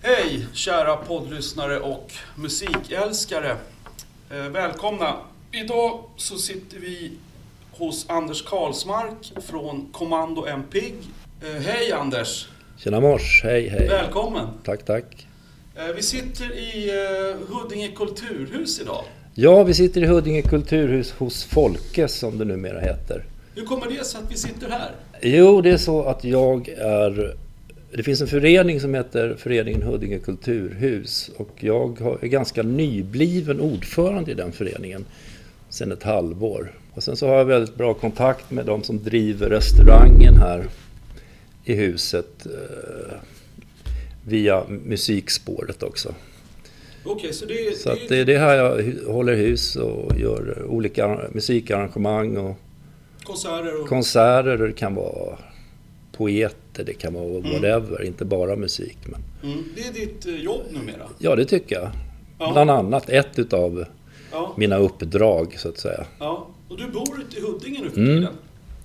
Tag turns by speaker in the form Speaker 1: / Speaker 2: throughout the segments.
Speaker 1: Hej kära poddlyssnare och musikälskare. Eh, Välkomna. Idag så sitter vi hos Anders Karlsmark från Kommando M Pigg. Eh, Hej Anders,
Speaker 2: Tjena mors, hej hej.
Speaker 1: välkommen.
Speaker 2: Tack tack.
Speaker 1: Eh, Vi sitter i eh, Huddinge kulturhus idag.
Speaker 2: Ja, vi sitter i Huddinge kulturhus hos Folke som det numera heter.
Speaker 1: Hur kommer det sig att vi sitter här?
Speaker 2: Jo, det är så att jag är... Det finns en förening som heter Föreningen Huddinge kulturhus och jag har- är ganska nybliven ordförande i den föreningen sedan ett halvår. Och sen så har jag väldigt bra kontakt med de som driver restaurangen här i huset eh, via musikspåret också.
Speaker 1: Okej, så det,
Speaker 2: Så att
Speaker 1: det,
Speaker 2: det är det här jag hu- håller hus och gör olika arra- musikarrangemang och
Speaker 1: är konserter och...
Speaker 2: konserter. Det kan vara poeter, det kan vara whatever, inte bara musik. Men
Speaker 1: Mm, det är ditt eh, jobb numera.
Speaker 2: ja, det tycker jag.
Speaker 1: Ja,
Speaker 2: Bland annat ett utav
Speaker 1: ja,
Speaker 2: mina uppdrag så att säga.
Speaker 1: ja. Och du bor ute i Huddinge nu för
Speaker 2: Mm.
Speaker 1: tiden?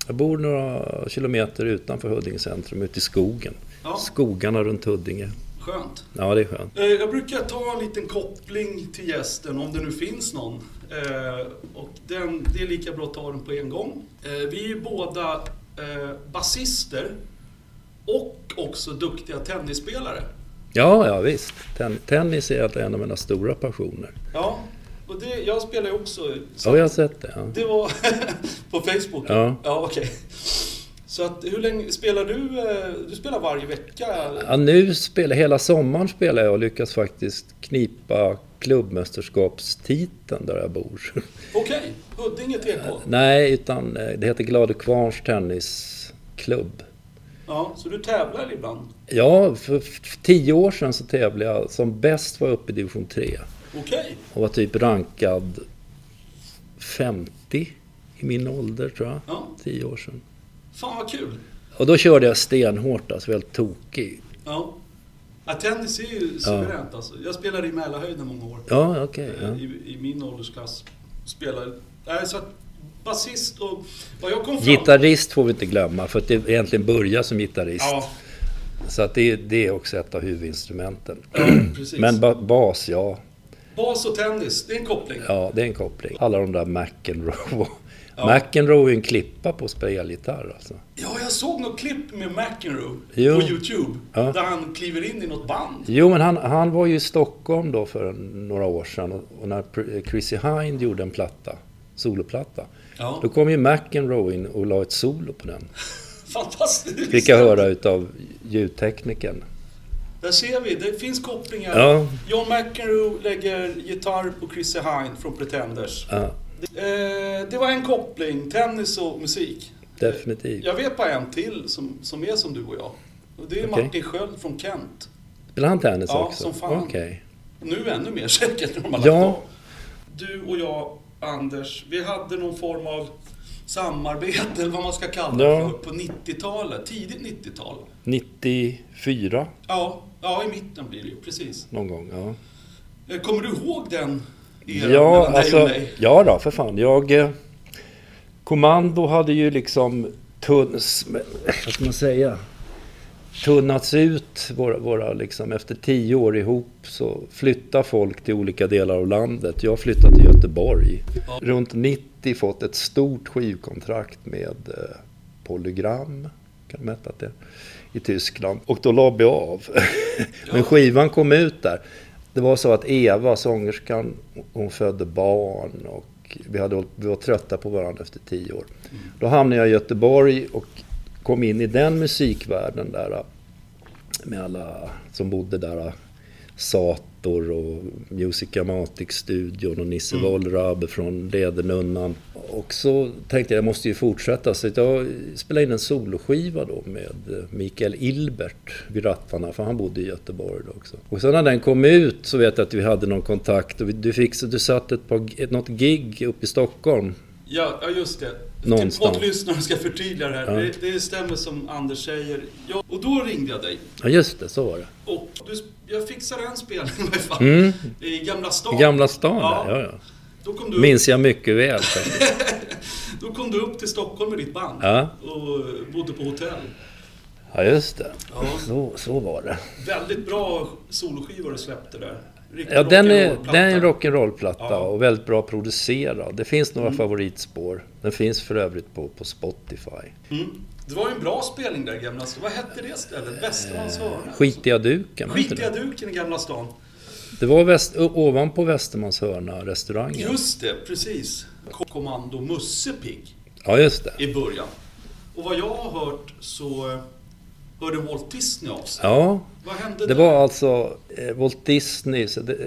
Speaker 2: Jag bor några kilometer utanför Huddinge centrum, ute i skogen.
Speaker 1: Ja,
Speaker 2: Skogarna runt Huddinge.
Speaker 1: skönt.
Speaker 2: Ja, det är skönt.
Speaker 1: Eh, Jag brukar ta en liten koppling till gästen, om det nu finns någon. Eh, Och den, det är lika bra att ta den på en gång. Eh, Vi är ju båda eh, basister och också duktiga tennisspelare.
Speaker 2: Ja, ja visst. Ten- tennis är en av mina stora passioner.
Speaker 1: Ja, och det, jag spelar ju också. Så
Speaker 2: Ja, jag har sett det. Ja.
Speaker 1: Det var på Facebook.
Speaker 2: Ja.
Speaker 1: ja okej. Så att, hur länge spelar du? eh, Du spelar varje vecka?
Speaker 2: Ja, nu spelar, hela sommaren spelar jag och lyckas faktiskt knipa klubbmästerskapstiteln där jag bor.
Speaker 1: Okej, Huddinge TK.
Speaker 2: Nej, utan eh, det heter Glade Kvarns Tennisklubb.
Speaker 1: Ja, så du tävlar ibland?
Speaker 2: Ja, för f- tio år sedan så tävlade jag som bäst var jag uppe i division 3
Speaker 1: Okej.
Speaker 2: och var typ rankad 50 i min ålder tror jag,
Speaker 1: Ja,
Speaker 2: tio år sedan.
Speaker 1: fan vad kul.
Speaker 2: Och då körde jag stenhårt, alltså helt tokig.
Speaker 1: Ja. ja tennis är ju suveränt alltså. Jag spelade i Mälarhöjden många år.
Speaker 2: Ja, okej.
Speaker 1: eh, I, I min åldersklass. Spelade... Nej, så att basist och... Vad jag kom
Speaker 2: ja.
Speaker 1: fram...
Speaker 2: Gitarrist får vi inte glömma, för att det egentligen börjar som gitarrist.
Speaker 1: Ja,
Speaker 2: Så att det, det är också ett av huvudinstrumenten.
Speaker 1: ja, precis.
Speaker 2: Men ba, bas, ja.
Speaker 1: Bas och tennis, det är en koppling.
Speaker 2: Ja, det är en koppling. Alla de där McEnroe.
Speaker 1: Ja.
Speaker 2: McEnroe är ju en klippa på spelgitarr alltså.
Speaker 1: Ja, jag såg något klipp med McEnroe
Speaker 2: Jo.
Speaker 1: på YouTube.
Speaker 2: Ja.
Speaker 1: Där han kliver in i något band.
Speaker 2: Jo, men han, han var ju i Stockholm då för en, några år sedan och, och när Pr- Chrissy Hind gjorde en platta, soloplatta,
Speaker 1: Ja,
Speaker 2: då kom ju McEnroe in och la ett solo på den.
Speaker 1: fantastiskt.
Speaker 2: Fick jag höra utav ljudteknikern.
Speaker 1: Där ser vi, det finns kopplingar.
Speaker 2: Ja,
Speaker 1: John McEnroe lägger gitarr på Chrissie Hynde från Pretenders.
Speaker 2: ja
Speaker 1: Eh, det var en koppling, tennis och musik.
Speaker 2: definitivt.
Speaker 1: Jag vet bara en till som, som är som du och jag. Och det är
Speaker 2: Okej.
Speaker 1: Martin Sköld från Kent.
Speaker 2: Spelar han tennis
Speaker 1: Ja,
Speaker 2: också?
Speaker 1: som fan.
Speaker 2: Okej.
Speaker 1: Nu ännu mer säkert när de har lagt
Speaker 2: Ja.
Speaker 1: av. Du och jag, Anders, vi hade någon form av samarbete, eller vad man ska kalla det
Speaker 2: Ja.
Speaker 1: för, på 90-talet. Tidigt 90-tal.
Speaker 2: 94
Speaker 1: Ja, ja, i mitten blir det ju, precis.
Speaker 2: någon gång, ja.
Speaker 1: Eh, Kommer du ihåg den eran
Speaker 2: Ja,
Speaker 1: mellan dig och
Speaker 2: alltså,
Speaker 1: mig?
Speaker 2: ja då, för fan. Jag... eh, Kommando hade ju liksom tunn... s- Vad ska man säga? Tunnats ut våra, våra liksom, efter tio år ihop så flyttar folk till olika delar av landet. Jag flyttade till Göteborg.
Speaker 1: Ja.
Speaker 2: Runt 90 fått ett stort skivkontrakt med eh, Polygram, kan de heta det, i Tyskland. Och då la vi av. Men skivan kom ut där. Det var så att Eva, sångerskan, hon födde barn och vi, hade, hållit- vi var trötta på varandra efter tio år. Då hamnade jag i Göteborg och kom in i den musikvärlden där med alla som bodde där. Sator och Musicamatic-studion och Nisse
Speaker 1: Mm.
Speaker 2: Wollrab från Ledernunnan. Och så tänkte jag, jag måste ju fortsätta. Så jag spelade in en soloskiva då med eh, Mikael Ilbert vid rattarna, för han bodde i Göteborg då också. Och sen när den kom ut så vet jag att vi hade någon kontakt och vi- du, fick, så du satt ett par, ett, något gig uppe i Stockholm.
Speaker 1: Ja, ja just det. Till
Speaker 2: Någonstans.
Speaker 1: poddlyssnare ska jag förtydliga det här.
Speaker 2: Ja.
Speaker 1: Det, det stämmer som Anders säger. Ja, och då ringde jag dig.
Speaker 2: Ja just det, så var det.
Speaker 1: Och du, jag fixade en spelning i varje fall.
Speaker 2: Mm.
Speaker 1: I Gamla
Speaker 2: I
Speaker 1: stan.
Speaker 2: Gamla stan
Speaker 1: Ja.
Speaker 2: där, ja,
Speaker 1: Då, kom
Speaker 2: ja.
Speaker 1: du upp,
Speaker 2: Minns jag mycket väl faktiskt.
Speaker 1: då kom du upp till Stockholm med ditt band.
Speaker 2: Ja.
Speaker 1: Och bodde på hotell.
Speaker 2: Ja, just det.
Speaker 1: Ja.
Speaker 2: Så, så var det.
Speaker 1: Väldigt bra soloskiva du släppte där. Riktigt
Speaker 2: Ja, den är,
Speaker 1: rock'n'roll-platta.
Speaker 2: den är en rock'n'roll-platta
Speaker 1: Ja. Mm.
Speaker 2: och väldigt bra producerad. Det finns några favoritspår. Den finns för övrigt på, på Spotify.
Speaker 1: Mm. Det var ju en bra spelning där i Gamla stan. Vad hette det stället? Västermalms
Speaker 2: Eh,
Speaker 1: hörna?
Speaker 2: Skitiga duken, var inte
Speaker 1: Skitiga
Speaker 2: det?
Speaker 1: duken i Gamla stan.
Speaker 2: Det var väst, o- ovanpå Västermans hörna, restaurangen.
Speaker 1: Just det, precis. Kommando Musse Pigg
Speaker 2: Ja, just det.
Speaker 1: i början. Och vad jag har hört så eh, hörde Walt Disney av sig.
Speaker 2: Ja,
Speaker 1: Vad hände
Speaker 2: det
Speaker 1: där?
Speaker 2: var alltså eh, Walt Disneys, det,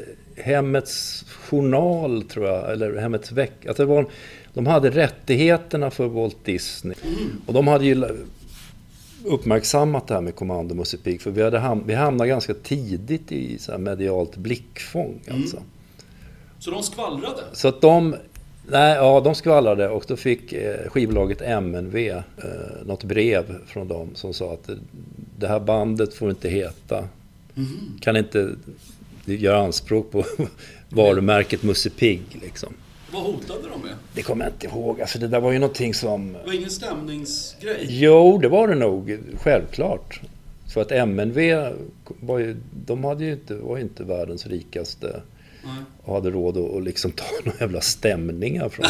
Speaker 2: Hemmets journal tror jag, eller Hemmets vecka. Alltså det var, en- de hade rättigheterna för Walt Disney. Och de hade ju la- uppmärksammat det här med Kommando Musse Pigg, för vi, hade ham- vi hamnade ganska tidigt i så här medialt blickfång. Alltså.
Speaker 1: Så de skvallrade?
Speaker 2: Så att de, nej, ja, de skvallrade och då fick eh, skivbolaget MNV eh, något brev från dem som sa att eh, det här bandet får inte heta, kan inte göra anspråk på varumärket Musse Pigg liksom.
Speaker 1: Vad hotade de med?
Speaker 2: Det kommer jag inte ihåg, alltså det där var ju någonting som...
Speaker 1: Det var ingen stämningsgrej?
Speaker 2: Jo, det var det nog, självklart. För att MNV var ju, de hade ju inte, var ju inte världens rikaste
Speaker 1: Nej.
Speaker 2: och hade råd att att liksom ta några jävla stämningar från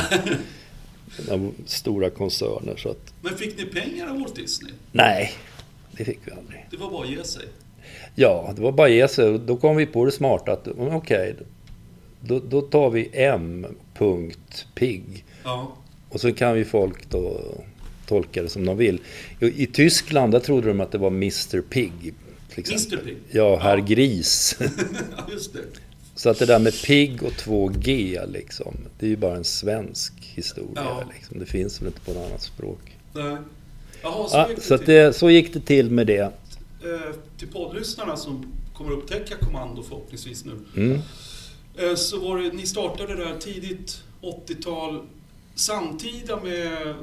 Speaker 2: de stora koncerner. Så att,
Speaker 1: Men fick ni pengar av Walt Disney?
Speaker 2: nej, det fick vi aldrig.
Speaker 1: Det var bara att ge sig.
Speaker 2: Ja, det var bara att ge sig. Då kom vi på det smarta att mm, okej, då, då tar vi m.pig
Speaker 1: Ja.
Speaker 2: och så kan vi folk då tolka det som de vill. I, i Tyskland, där trodde de att det var Mr Pig. Till exempel.
Speaker 1: Mr Pig?
Speaker 2: Ja, herr Gris.
Speaker 1: ja, just det.
Speaker 2: Så att det där med pigg och 2G liksom, det är ju bara en svensk historia.
Speaker 1: Ja.
Speaker 2: Liksom. Det finns väl inte på något annat språk.
Speaker 1: Nej. Jaha, så,
Speaker 2: Ja,
Speaker 1: gick det
Speaker 2: så, att
Speaker 1: till,
Speaker 2: det, så gick det till med det.
Speaker 1: eh, till poddlyssnarna som kommer upptäcka Kommando förhoppningsvis nu.
Speaker 2: Mm.
Speaker 1: Eh, så var det, ni startade där tidigt 80-tal, samtida med eh,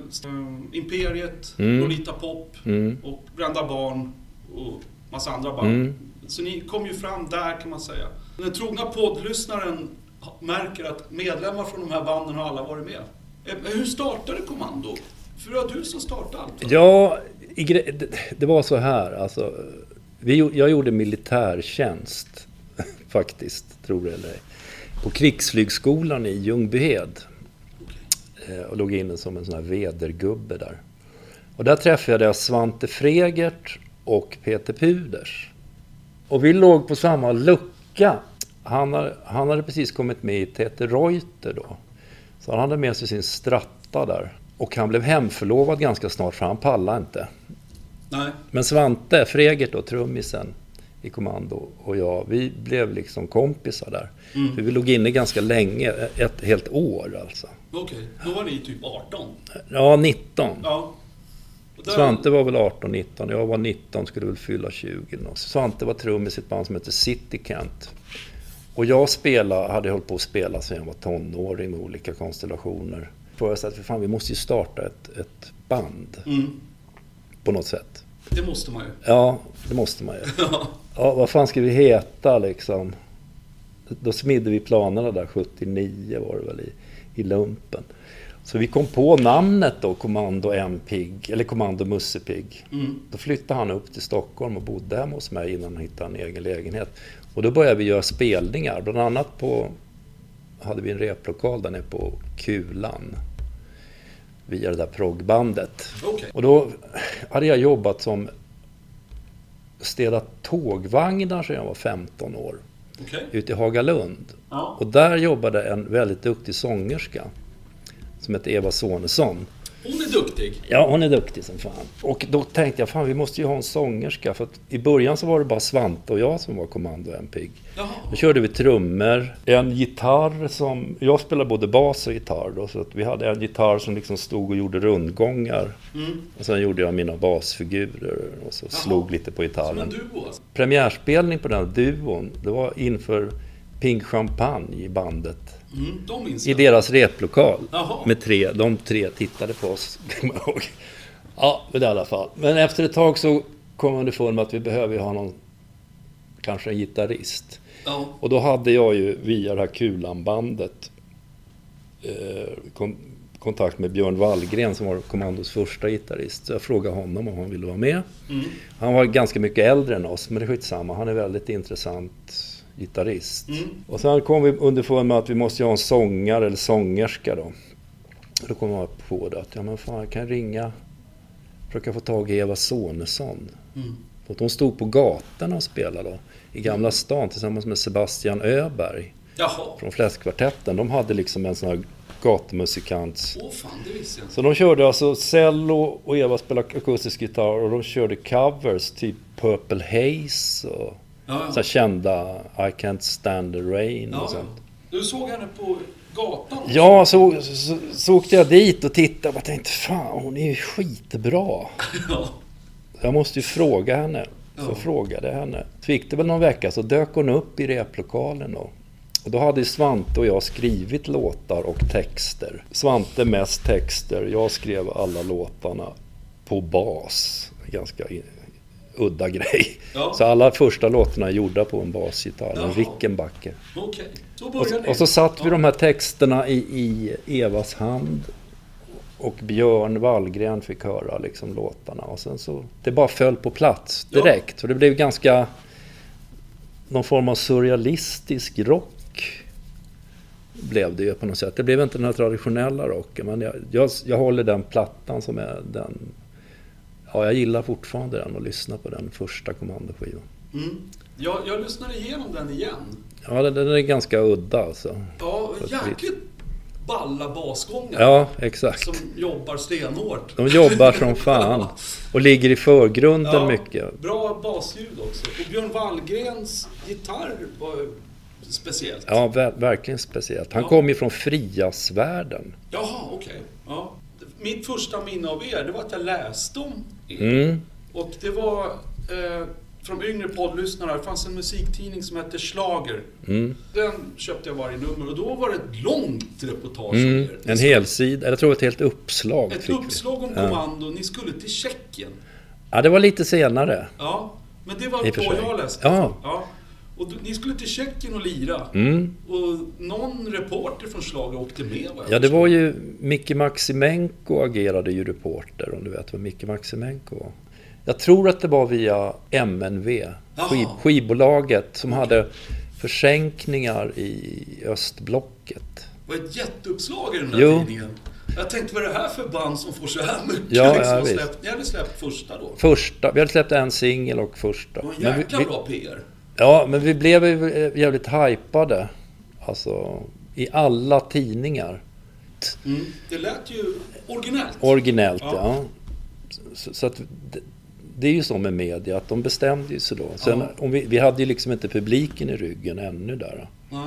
Speaker 1: Imperiet,
Speaker 2: Mm.
Speaker 1: Lolita Pop
Speaker 2: Mm.
Speaker 1: och Brända Barn och massa andra band.
Speaker 2: Mm.
Speaker 1: Så ni kom ju fram där kan man säga. Den trogna poddlyssnaren märker att medlemmar från de här banden har alla varit med. Eh, men Hur startade Kommando? För det var du som startade allt va?
Speaker 2: Ja, i gre- det- det var så här. Alltså, vi, gjo- jag gjorde militärtjänst, faktiskt, tror det eller ej, på krigsflygskolan i Ljungbyhed. Eh, Och låg inne som en sån här vedergubbe där. Och där träffade jag Svante Fregert och Peter Puders. Och vi låg på samma lucka. Han, har- han hade precis kommit med i Tete Reuter då. Så han hade med sig sin stratta där. Och han blev hemförlovad ganska snart för han pallade inte.
Speaker 1: Nej.
Speaker 2: Men Svante Fregert då, trummisen i kommando och jag, vi blev liksom kompisar där. För vi låg inne ganska länge, ett helt år alltså.
Speaker 1: Okej, då var ni typ 18?
Speaker 2: Ja, 19.
Speaker 1: Ja. Och där-
Speaker 2: Svante var väl 18, 19. Jag var 19, skulle väl fylla 20. eller något. Svante var trummis i ett band som hette City Kent. Och jag spelade, hade hållit på att spela sedan jag var tonåring med olika konstellationer. För jag sa att för fan, vi måste ju starta ett, ett band
Speaker 1: Mm,
Speaker 2: på något sätt.
Speaker 1: det måste man ju.
Speaker 2: Ja, det måste man ju.
Speaker 1: Ja.
Speaker 2: Ja, vad fan ska vi heta liksom? Då smidde vi planerna där 79 var det väl i, i lumpen. Så vi kom på namnet då, Kommando M Pig, eller Kommando Musse Pig.
Speaker 1: Mm.
Speaker 2: Då flyttade han upp till Stockholm och bodde hemma hos mig innan han hittade en egen lägenhet. Och då började vi göra spelningar, bland annat på, hade vi en replokal där nere på Kulan. Via det där proggbandet.
Speaker 1: Okej.
Speaker 2: Och då hade jag jobbat som städat tågvagnar sedan jag var 15 år
Speaker 1: Okej.
Speaker 2: ute i Hagalund.
Speaker 1: Ja.
Speaker 2: Och där jobbade en väldigt duktig sångerska som hette Eva Sonesson.
Speaker 1: Hon är duktig.
Speaker 2: Ja, hon är duktig som fan. Och då tänkte jag, fan vi måste ju ha en sångerska. För att i början så var det bara Svante och jag som var kommando en pigg. Då
Speaker 1: Jaha.
Speaker 2: körde vi trummor, en gitarr som... Jag spelade både bas och gitarr då, så att vi hade en gitarr som liksom stod och gjorde rundgångar.
Speaker 1: Mm.
Speaker 2: Och sen gjorde jag mina basfigurer och så
Speaker 1: Jaha.
Speaker 2: slog lite på
Speaker 1: Som en
Speaker 2: gitarren.
Speaker 1: duo alltså.
Speaker 2: Premiärspelning på den här duon, det var inför Pink Champagne i bandet.
Speaker 1: Mm, de minns
Speaker 2: I
Speaker 1: jag.
Speaker 2: deras replokal.
Speaker 1: Jaha.
Speaker 2: Med tre, de tre tittade på oss, kommer jag ihåg. Ja, men i alla fall. Men efter ett tag så kom jag underfund med att vi behöver ju ha någon, kanske en gitarrist.
Speaker 1: Ja.
Speaker 2: Och då hade jag ju via det här Kulanbandet eh, kon- kontakt med Björn Wallgren som var kommandos första gitarrist. Så jag frågade honom om han ville vara med.
Speaker 1: Mm.
Speaker 2: Han var ganska mycket äldre än oss, men det är skitsamma. Han är väldigt intressant gitarrist.
Speaker 1: Mm.
Speaker 2: Och sen kom vi underfund med att vi måste ju ha en sångare eller sångerska då. Då kom jag på det att, ja men fan jag kan ringa, försöka få tag i Eva Sonesson.
Speaker 1: Mm.
Speaker 2: För att hon stod på gatorna och spelade då, i Gamla stan tillsammans med Sebastian Öberg
Speaker 1: Jaha,
Speaker 2: från Fläskkvartetten. De hade liksom en sån här gatumusikants
Speaker 1: åh fan det visste jag inte.
Speaker 2: så de körde alltså cello och Eva spelade akustisk gitarr och de körde covers, typ Purple Haze och
Speaker 1: Ja,
Speaker 2: så här
Speaker 1: ja.
Speaker 2: kända I Can't Stand The Rain
Speaker 1: Ja,
Speaker 2: och
Speaker 1: ja.
Speaker 2: sånt.
Speaker 1: Du såg henne på gatan?
Speaker 2: Ja, så, så, så åkte jag dit och tittade och tänkte fan hon är ju skitbra.
Speaker 1: Ja.
Speaker 2: Jag måste ju fråga henne. Så
Speaker 1: Ja.
Speaker 2: jag frågade jag henne. Så gick det väl någon vecka så dök hon upp i replokalen då. Och då hade ju Svante och jag skrivit låtar och texter. Svante mest texter, jag skrev alla låtarna på bas. Ganska i- udda grej.
Speaker 1: Ja.
Speaker 2: Så alla första låtarna är gjorda på en basgitarr,
Speaker 1: Jaha.
Speaker 2: en Rickenbacker.
Speaker 1: Okej, så
Speaker 2: Och,
Speaker 1: började
Speaker 2: och så satt vi de här texterna i, i Evas hand. Och Björn Wallgren fick höra liksom låtarna. Och sen så, det bara föll på plats
Speaker 1: Ja.
Speaker 2: direkt. Och det blev ganska någon form av surrealistisk rock. Blev det ju på något sätt. Det blev inte den här traditionella rocken. Men jag, jag, jag håller den plattan som är den... Ja, jag gillar fortfarande den och lyssnar på den första kommandoskivan.
Speaker 1: Mm. Jag, jag lyssnade igenom den igen.
Speaker 2: Ja, den, den är ganska udda alltså.
Speaker 1: Ja, jäkligt balla basgångar
Speaker 2: Ja, exakt.
Speaker 1: som jobbar stenhårt.
Speaker 2: De jobbar som fan och ligger i förgrunden
Speaker 1: Ja,
Speaker 2: mycket.
Speaker 1: Bra basljud också. Och Björn Wallgrens gitarr var ju speciellt.
Speaker 2: Ja, ver- verkligen speciellt. Han
Speaker 1: Ja.
Speaker 2: kom ju från friasvärlden.
Speaker 1: Jaha, okej. Ja. Mitt första minne av er, det var att jag läste om er.
Speaker 2: Mm.
Speaker 1: Och det var eh, från yngre poddlyssnare, det fanns en musiktidning som hette Schlager.
Speaker 2: Mm.
Speaker 1: Den köpte jag varje nummer och då var det ett långt reportage om
Speaker 2: Mm.
Speaker 1: er.
Speaker 2: En helsida, eller jag tror ett helt uppslag
Speaker 1: Ett
Speaker 2: fick vi.
Speaker 1: uppslag om kommando, ni skulle till Tjeckien.
Speaker 2: Ja, det var lite senare.
Speaker 1: Ja, men det
Speaker 2: I
Speaker 1: var
Speaker 2: och för
Speaker 1: då
Speaker 2: sig.
Speaker 1: jag läste.
Speaker 2: Ja.
Speaker 1: Och du- ni skulle till Tjeckien och lira.
Speaker 2: Mm.
Speaker 1: Och någon reporter från Schlager åkte med vad jag
Speaker 2: Ja, det
Speaker 1: förstår.
Speaker 2: var ju Micke Maximenko agerade ju reporter, om du vet vad Micke Maximenko var. Jag tror att det var via MNV, skiv,
Speaker 1: Jaha. skivbolaget
Speaker 2: skivbolaget, som hade försänkningar i östblocket.
Speaker 1: Det var ett jätteuppslag i den där
Speaker 2: Jo.
Speaker 1: tidningen. Jag tänkte, vad är det här för band som får så här mycket?
Speaker 2: Ja,
Speaker 1: liksom,
Speaker 2: ja,
Speaker 1: och
Speaker 2: visst.
Speaker 1: släppt, ni hade släppt första då.
Speaker 2: Första, vi hade släppt en singel och första.
Speaker 1: Det var en
Speaker 2: Men vi,
Speaker 1: jäkla
Speaker 2: vi,
Speaker 1: bra PR.
Speaker 2: ja, men vi blev ju, eh, jävligt hypade. Alltså, i alla tidningar.
Speaker 1: Mm. Det lät ju originellt.
Speaker 2: Originellt,
Speaker 1: Ja.
Speaker 2: ja. Så, så att, det, det är ju så med media, att de bestämde ju sig då. Sen,
Speaker 1: Ja.
Speaker 2: om vi, vi hade ju liksom inte publiken i ryggen ännu där.
Speaker 1: Nej.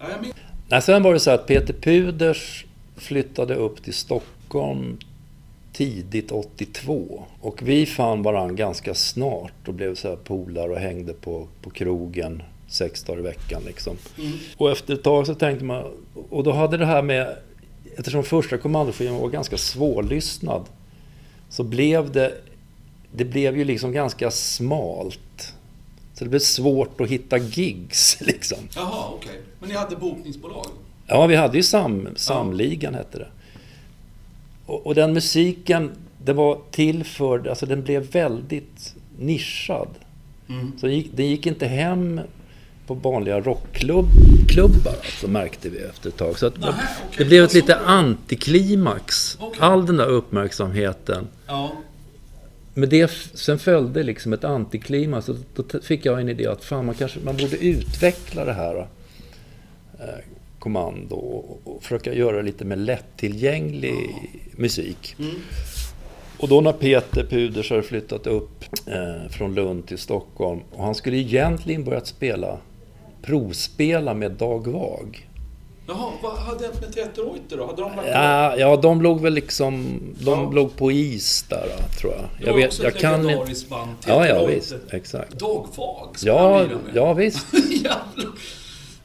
Speaker 1: Ja, jag minns.
Speaker 2: Nej, sen var det så att Peter Puders flyttade upp till Stockholm tidigt 82. Och vi fann varann ganska snart och blev så här polare och hängde på, på krogen sex dagar i veckan. Liksom.
Speaker 1: Mm.
Speaker 2: Och efter ett tag så tänkte man, och då hade det här med, eftersom första kommandoskivan var ganska svårlyssnad, så blev det, det blev ju liksom ganska smalt. Så det blev svårt att hitta gigs liksom.
Speaker 1: Jaha, okej. Men ni hade bokningsbolag?
Speaker 2: Ja, vi hade ju sam, Samligan hette det. Och, och den musiken, det var till för, alltså den blev väldigt nischad.
Speaker 1: Mm.
Speaker 2: Så den gick, den gick inte hem på vanliga rockklubbar, alltså, märkte vi efter ett tag. Så att,
Speaker 1: Nähä, okej.
Speaker 2: det blev ett
Speaker 1: Så
Speaker 2: lite
Speaker 1: bra.
Speaker 2: antiklimax.
Speaker 1: Okej.
Speaker 2: All den där uppmärksamheten.
Speaker 1: Ja.
Speaker 2: Men det, f- sen följde liksom ett antiklimax. Och då t- fick jag en idé att fan, man kanske man borde utveckla det här eh, kommando och, och försöka göra det lite mer lättillgänglig musik.
Speaker 1: Mm.
Speaker 2: Och då när Peter Puders hade flyttat upp eh, från Lund till Stockholm och han skulle egentligen börjat spela, provspela med Dag Wag.
Speaker 1: Jaha, vad hade hänt med Peter Reuter då? Hade de lagt ner?
Speaker 2: Ja, ja, de låg väl liksom... De
Speaker 1: Ja.
Speaker 2: låg på is där, tror jag.
Speaker 1: Det
Speaker 2: Jag,
Speaker 1: var
Speaker 2: vet,
Speaker 1: också
Speaker 2: jag
Speaker 1: ett
Speaker 2: kan inte...
Speaker 1: legendariskt band. Peter
Speaker 2: Ja, ja,
Speaker 1: Reuter.
Speaker 2: visst. Exakt.
Speaker 1: Dagfag skulle han
Speaker 2: Ja,
Speaker 1: lira med.
Speaker 2: ja visst.
Speaker 1: Jävlar.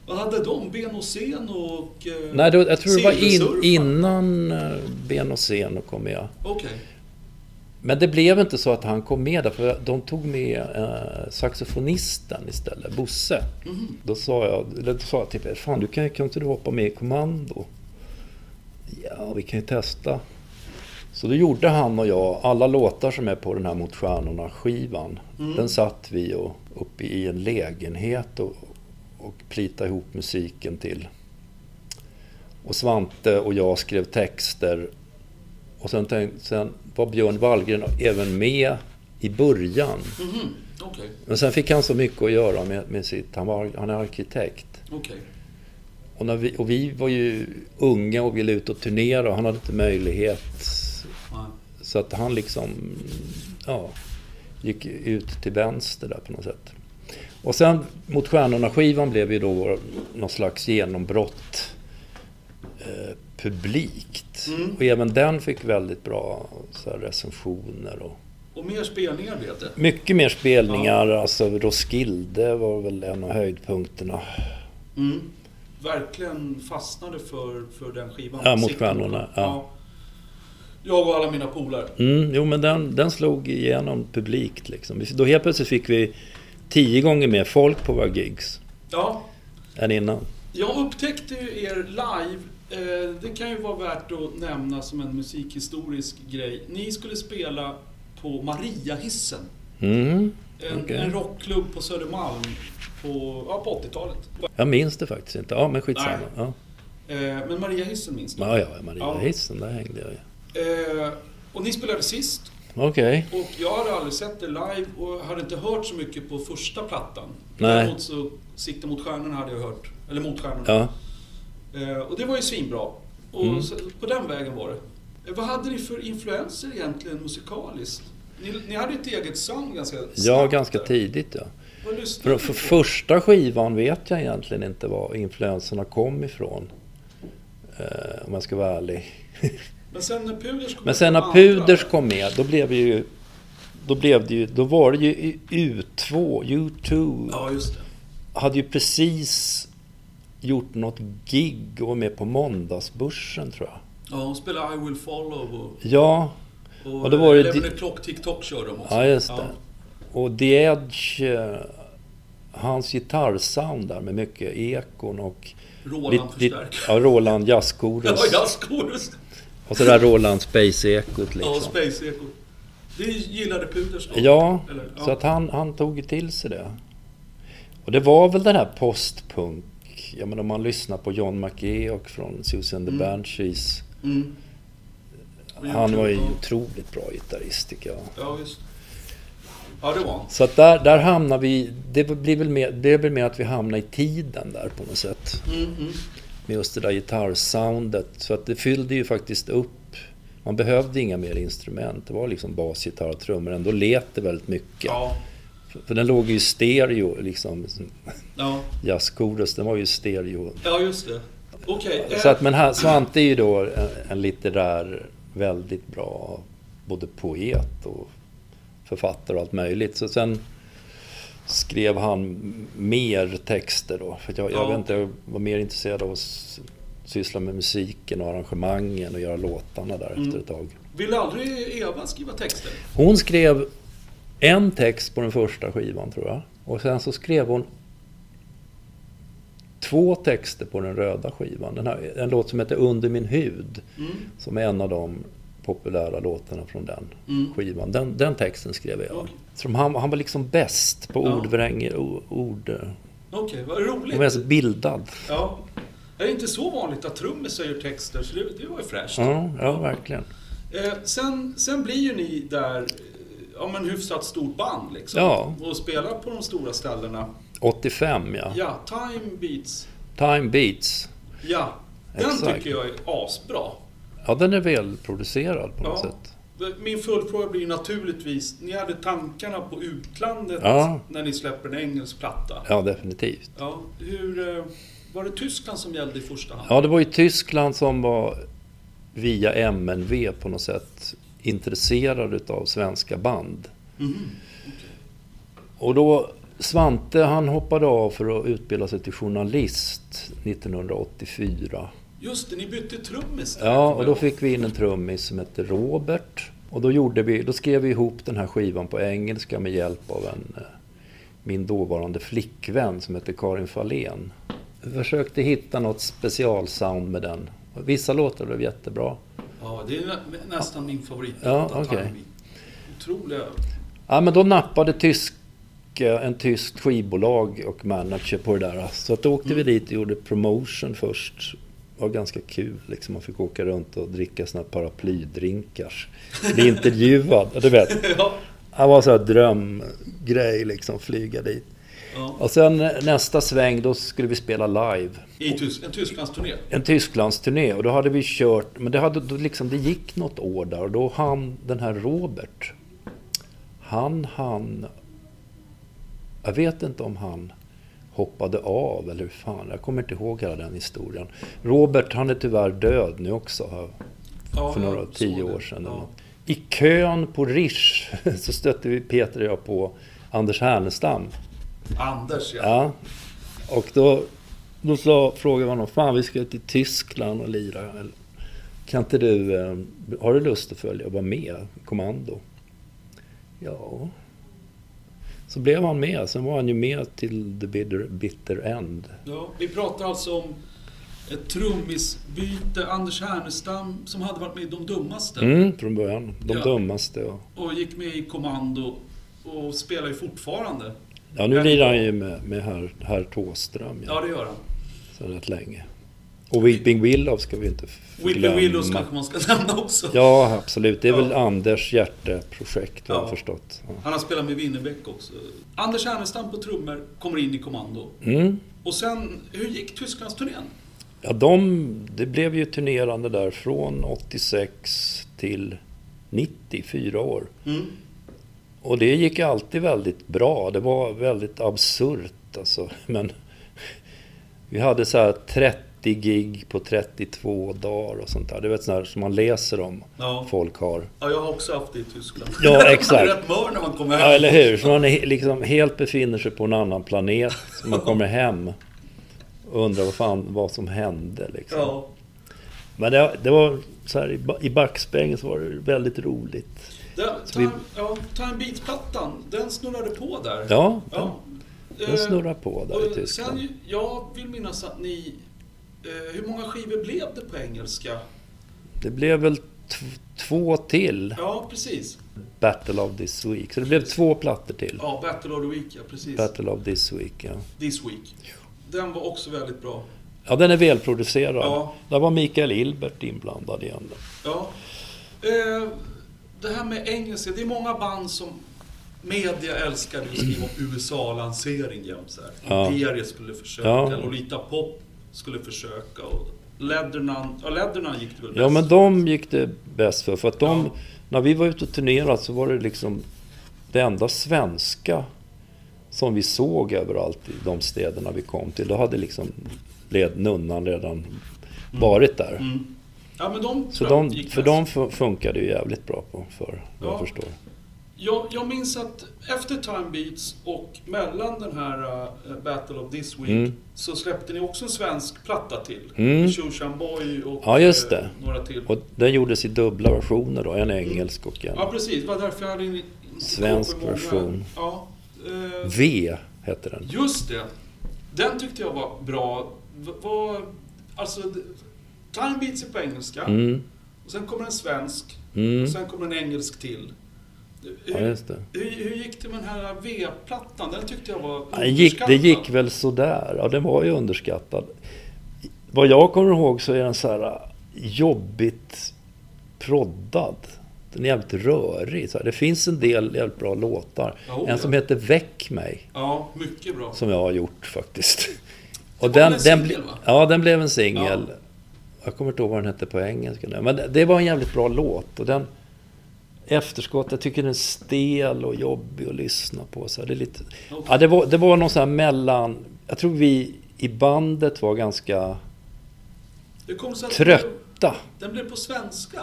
Speaker 1: Vad hade de? Ben och Sen och... eh,
Speaker 2: Nej, då, jag tror det var in,
Speaker 1: Silversurfaren?
Speaker 2: innan eh, Ben och Sen kom med.
Speaker 1: Okej.
Speaker 2: Men det blev inte så att han kom med därför de tog med eh, saxofonisten istället, Bosse. Då sa jag, eller då sa jag till Peter, fan du kan, kan inte du hoppa med i kommando? ja, vi kan ju testa. Så då gjorde han och jag, alla låtar som är på den här Mot stjärnorna-skivan,
Speaker 1: Mm.
Speaker 2: den satt vi och, uppe i en lägenhet och, och plitade ihop musiken till. Och Svante och jag skrev texter. Och sen, tänk, sen var Björn Wallgren även med i början.
Speaker 1: Mhm, Okej,
Speaker 2: Men sen fick han så mycket att göra med, med sitt, han, var, han är arkitekt.
Speaker 1: okej.
Speaker 2: Och, när vi, och vi var ju unga och ville ut och turnera och han hade inte möjlighet.
Speaker 1: Nej.
Speaker 2: Så att han liksom, ja, gick ut till vänster där på något sätt. Och sen mot Stjärnorna-skivan blev ju då vår- någon slags genombrott eh, publikt.
Speaker 1: Mm.
Speaker 2: Och även den fick väldigt bra så här, recensioner. Och
Speaker 1: Och mer spelningar blev det.
Speaker 2: mycket mer spelningar, alltså Roskilde var väl en av höjdpunkterna.
Speaker 1: Mm. Verkligen fastnade för, för den skivan.
Speaker 2: Ja, mot
Speaker 1: Siktade på
Speaker 2: stjärnorna,
Speaker 1: den.
Speaker 2: ja.
Speaker 1: Jag och alla mina polare.
Speaker 2: Mm, jo men den, den slog igenom publikt liksom. Vi- Då helt plötsligt fick vi tio gånger mer folk på våra gigs
Speaker 1: Ja,
Speaker 2: än innan.
Speaker 1: jag upptäckte ju er live. Eh, Det kan ju vara värt att nämna som en musikhistorisk grej. Ni skulle spela på Mariahissen.
Speaker 2: Mm,
Speaker 1: En,
Speaker 2: Okej.
Speaker 1: en rockklubb på Södermalm på, ja, på 80-talet.
Speaker 2: jag minns det faktiskt inte. Ja men skitsamma.
Speaker 1: Nej.
Speaker 2: Ja,
Speaker 1: Eh, Men Mariahissen minns du?
Speaker 2: ja, ja Maria
Speaker 1: Ja.
Speaker 2: Hissen, där hängde jag ju.
Speaker 1: Eh, Och ni spelade sist.
Speaker 2: Okej.
Speaker 1: Och jag hade aldrig sett det live och hade inte hört så mycket på första plattan.
Speaker 2: Nej.
Speaker 1: Däremot så Sikta mot stjärnorna hade jag hört. Eller mot stjärnorna.
Speaker 2: Ja.
Speaker 1: Eh, och det var ju svinbra. Och
Speaker 2: Mm.
Speaker 1: så, på den vägen var det. Eh, vad hade ni för influenser egentligen musikaliskt? Ni, ni hade ju ett eget sound ganska snabbt.
Speaker 2: ja, ganska
Speaker 1: där.
Speaker 2: tidigt ja.
Speaker 1: Vad lyssnade
Speaker 2: För,
Speaker 1: ni
Speaker 2: för
Speaker 1: på?
Speaker 2: första skivan vet jag egentligen inte var influenserna kom ifrån. Eh, om jag ska vara ärlig.
Speaker 1: Men sen när Puders kom
Speaker 2: Men sen när
Speaker 1: andra-
Speaker 2: Puders kom med, då blev det ju... Då, blev det ju, då var det ju U2, U2
Speaker 1: Ja, just det.
Speaker 2: hade ju precis gjort något gig och var med på Måndagsbörsen tror jag.
Speaker 1: Ja, de spelade I will follow och...
Speaker 2: Ja,
Speaker 1: Och,
Speaker 2: Ja, det var ju
Speaker 1: Eleven
Speaker 2: di-
Speaker 1: O'Clock TikTok kör de också.
Speaker 2: ja just det. Och The Edge, eh, hans gitarrsound där med mycket ekon och...
Speaker 1: Roland förstärker.
Speaker 2: ja, Roland
Speaker 1: Ja,
Speaker 2: jazzkorus.
Speaker 1: jag skådis.
Speaker 2: Och så där Roland space-ekot
Speaker 1: Ja,
Speaker 2: liksom.
Speaker 1: Space Echo. Det gillade Puders då?
Speaker 2: Ja,
Speaker 1: Eller, ja.
Speaker 2: så att han, han tog ju till sig det. Och det var väl den här postpunk, jag menar om man lyssnar på John McGee och från Susan the
Speaker 1: Mm.
Speaker 2: Banshees.
Speaker 1: Mm. Och
Speaker 2: Han var ju
Speaker 1: YouTube,
Speaker 2: otroligt bra gitarrist tycker jag.
Speaker 1: Ja, ja, just det. Ja, det var han.
Speaker 2: Så att där, där hamnar vi, det blir väl mer, det blir mer att vi hamnar i tiden där på något sätt.
Speaker 1: Mm, mm.
Speaker 2: Med just det där gitarrsoundet. Så att det fyllde ju faktiskt upp. Man behövde inga mer instrument. Det var liksom bas, gitarr och trummor. Ändå lät det väldigt mycket.
Speaker 1: Ja.
Speaker 2: För- För den låg ju i stereo liksom.
Speaker 1: Ja.
Speaker 2: Jazzkorus, den var ju i stereo.
Speaker 1: ja, just det. Okej. eh,
Speaker 2: Så att, men här, Svante är ju då en, en litterär, väldigt bra både poet och författare och allt möjligt. Så sen skrev han mer texter då. För att jag, jag,
Speaker 1: Ja.
Speaker 2: vet inte, jag var mer intresserad av att s- syssla med musiken och arrangemangen och göra låtarna där
Speaker 1: Mm.
Speaker 2: efter ett tag.
Speaker 1: Vill aldrig Eva skriva texter?
Speaker 2: Hon skrev en text på den första skivan tror jag. Och sen så skrev hon två texter på den röda skivan. Den här, en låt som heter Under min hud.
Speaker 1: Mm.
Speaker 2: Som är en av de populära låtarna från den
Speaker 1: Mm.
Speaker 2: skivan. Den, den texten skrev jag.
Speaker 1: Okej.
Speaker 2: Som han, han var liksom bäst på
Speaker 1: Ja.
Speaker 2: ordvränger och ord. Han
Speaker 1: Okej, vad roligt.
Speaker 2: var så bildad.
Speaker 1: Ja. Det är inte så vanligt att trummisar gör texter, så det, det var ju fräscht.
Speaker 2: Ja, ja verkligen.
Speaker 1: Eh, sen, sen blir ju ni där, eh, ja men hyfsat stort band liksom.
Speaker 2: Ja.
Speaker 1: Och spelar på de stora ställena.
Speaker 2: 85 ja.
Speaker 1: Ja, Time Beats.
Speaker 2: Time Beats.
Speaker 1: Ja, den
Speaker 2: Exakt.
Speaker 1: tycker jag är asbra.
Speaker 2: Ja, den är välproducerad på något
Speaker 1: Ja.
Speaker 2: sätt.
Speaker 1: Min följdfråga blir ju naturligtvis, ni hade tankarna på utlandet
Speaker 2: Ja.
Speaker 1: när ni släpper en engelsk platta.
Speaker 2: Ja, definitivt.
Speaker 1: Ja, hur, eh, var det Tyskland som gällde i första hand?
Speaker 2: Ja, det var ju Tyskland som var via MNV på något sätt intresserad utav svenska band.
Speaker 1: Mhm.
Speaker 2: Och då Svante han hoppade av för att utbilda sig till journalist 1984.
Speaker 1: Just det, ni bytte trummis. där,
Speaker 2: Ja,
Speaker 1: kommer
Speaker 2: och
Speaker 1: jag
Speaker 2: då
Speaker 1: ihåg.
Speaker 2: fick vi in en trummis som hette Robert. Och då, gjorde vi, då skrev vi ihop den här skivan på engelska med hjälp av en, eh, min dåvarande flickvän som hette Karin Fahlén. Vi försökte hitta något specialsound med den Vissa låtar blev jättebra.
Speaker 1: Ja, det är nä nästan min favorit.
Speaker 2: Ja,
Speaker 1: Detta
Speaker 2: okej.
Speaker 1: Time Beat. Otroliga.
Speaker 2: Ja, men då nappade tysk, eh, en tysk skivbolag och manager på det där. Så att då åkte vi dit och gjorde promotion först. Det var ganska kul. Liksom. Man fick åka runt och dricka såna här paraplydrinkar. Bli intervjuad, du vet.
Speaker 1: ja,
Speaker 2: Det var så här drömgrej, liksom, flyga dit.
Speaker 1: ja.
Speaker 2: Och sen eh, nästa sväng, då skulle vi spela live.
Speaker 1: I Tys- en Tysklandsturné.
Speaker 2: en Tysklandsturné och då hade vi kört, men det, hade, då liksom, det gick något år där och då han, den här Robert, han, han, jag vet inte om han hoppade av eller hur fan, jag kommer inte ihåg hela den historien. Robert, han är tyvärr död nu också, har jag
Speaker 1: Ja,
Speaker 2: för några
Speaker 1: jag
Speaker 2: tio
Speaker 1: såg det.
Speaker 2: år sedan. eller
Speaker 1: Ja.
Speaker 2: något. I kön på Rish så stötte vi Peter och jag på Anders Härnestam.
Speaker 1: Anders, ja.
Speaker 2: Ja. Och då, då sa, frågade vi honom, fan vi ska till Tyskland och lira. Eller, Kan inte du, eh, har du lust att följa och vara med, kommando? Ja. Så blev han med, sen var han ju med till the bitter, bitter end.
Speaker 1: Ja, vi pratar alltså om ett trummisbyte. Anders Härnestam som hade varit med i De Dummaste
Speaker 2: Mm, från början, de
Speaker 1: Ja.
Speaker 2: dummaste. Och,
Speaker 1: och gick med i Kommando och spelar ju fortfarande.
Speaker 2: ja, nu
Speaker 1: Men-
Speaker 2: lirar han ju med, med herr, herr Thåström ja,
Speaker 1: Ja, det gör han.
Speaker 2: så rätt länge. Och Weeping Willow ska vi inte f-
Speaker 1: Whippy
Speaker 2: glömma.
Speaker 1: Willows kanske man ska nämna också.
Speaker 2: Ja, absolut. Det är
Speaker 1: Ja.
Speaker 2: väl Anders hjärteprojekt, har jag
Speaker 1: Ja.
Speaker 2: förstått. Ja.
Speaker 1: Han har spelat med Winnerbäck också. Anders Härnestam på trummor kommer in i Kommando.
Speaker 2: Mm.
Speaker 1: Och sen, hur gick Tysklandsturnén?
Speaker 2: Ja, de, det blev ju turnerande där från 86 till 90, fyra år.
Speaker 1: Mm.
Speaker 2: Och det gick alltid väldigt bra. Det var väldigt absurt alltså. Men vi hade så här 30 gig på 32 dagar och sånt där. Det är sånt där som man läser om.
Speaker 1: Ja.
Speaker 2: Folk har.
Speaker 1: ja, jag har också haft det i Tyskland.
Speaker 2: Ja, exakt.
Speaker 1: Man är rätt mör när man kommer hem.
Speaker 2: Ja, eller hur? Så man är, liksom helt befinner sig på en annan planet. Så man kommer hem och undrar vad fan vad som hände liksom.
Speaker 1: Ja.
Speaker 2: Men det, det var så här, i ba- i backspegeln så var det väldigt roligt.
Speaker 1: Där,
Speaker 2: Så vi-
Speaker 1: time, ja, time Beat-plattan, den snurrade på där.
Speaker 2: Ja,
Speaker 1: Ja.
Speaker 2: den,
Speaker 1: Eh,
Speaker 2: den snurrar på där i
Speaker 1: och
Speaker 2: Tyskland.
Speaker 1: Sen, jag vill minnas att ni... Eh, hur många skivor blev det på engelska?
Speaker 2: Det blev väl t- två till
Speaker 1: Ja, precis.
Speaker 2: Battle of This Week. Så det blev två plattor till.
Speaker 1: Ja, Battle of the Week, ja precis.
Speaker 2: Battle of This Week, ja.
Speaker 1: This Week. Den var också väldigt bra.
Speaker 2: Ja, den är välproducerad.
Speaker 1: Ja.
Speaker 2: Där var Mikael Ilbert inblandad igen. då.
Speaker 1: Ja. Eh, det här med engelska, det är många band som media älskade att skriva om USA-lansering jämt så här.
Speaker 2: Ja.
Speaker 1: Imperiet skulle försöka,
Speaker 2: Ja.
Speaker 1: Lolita Pop skulle försöka och Leatherman, ja Leatherman gick det väl
Speaker 2: Ja,
Speaker 1: bäst?
Speaker 2: men de gick det bäst för. För att de,
Speaker 1: Ja.
Speaker 2: när vi var ute och turnerade så var det liksom det enda svenska som vi såg överallt i de städerna vi kom till. Då hade liksom led, nunnan redan varit där.
Speaker 1: Mm. Ja, men de
Speaker 2: Så
Speaker 1: tror jag
Speaker 2: de,
Speaker 1: gick
Speaker 2: för
Speaker 1: bäst.
Speaker 2: de fu- funkade ju jävligt bra på för vad
Speaker 1: Ja.
Speaker 2: jag förstår.
Speaker 1: Jag, jag minns att efter Time Beats och mellan den här eh, Battle of This Week
Speaker 2: Mm.
Speaker 1: så släppte ni också en svensk platta till.
Speaker 2: Mm.
Speaker 1: Shushan Boy och
Speaker 2: Ja, just
Speaker 1: eh,
Speaker 2: det.
Speaker 1: några till.
Speaker 2: Och den gjordes i dubbla versioner då, en engelsk och en
Speaker 1: Mm. Ja, precis. Det var därför jag hade en...
Speaker 2: Svensk
Speaker 1: många-
Speaker 2: version.
Speaker 1: Ja. Eh,
Speaker 2: V hette den.
Speaker 1: just det. Den tyckte jag var bra. V- Var, alltså, d- Time Beats är på engelska.
Speaker 2: Mm,
Speaker 1: Och sen kommer en svensk.
Speaker 2: mm.
Speaker 1: Och sen kommer en engelsk till.
Speaker 2: Ja,
Speaker 1: Hur,
Speaker 2: just det.
Speaker 1: hur, hur gick det med den här V-plattan? Den tyckte jag var
Speaker 2: Ja, Det gick, det
Speaker 1: underskattad.
Speaker 2: gick väl sådär. Ja, den var ju underskattad. Vad jag kommer ihåg så är den så här äh, jobbigt proddad. Den är jävligt rörig. Så här. Det finns en del jävligt bra låtar.
Speaker 1: Ja, oh,
Speaker 2: en som
Speaker 1: ja.
Speaker 2: heter Väck mig,
Speaker 1: Ja, mycket bra.
Speaker 2: som jag har gjort faktiskt. Och
Speaker 1: Det var
Speaker 2: den,
Speaker 1: väl en
Speaker 2: den,
Speaker 1: singel,
Speaker 2: ble-
Speaker 1: va?
Speaker 2: ja, den blev en singel. Jag kommer inte ihåg vad den hette på engelska nu. Men det, det var en jävligt bra låt. Och den efterskott, jag tycker den är stel och jobbig att lyssna på. Så här. det är lite,
Speaker 1: Okej.
Speaker 2: Ja, det var, det var någon sån här mellan... Jag tror vi i bandet var ganska
Speaker 1: Det kom så att Den,
Speaker 2: trötta.
Speaker 1: blev, den blev på svenska.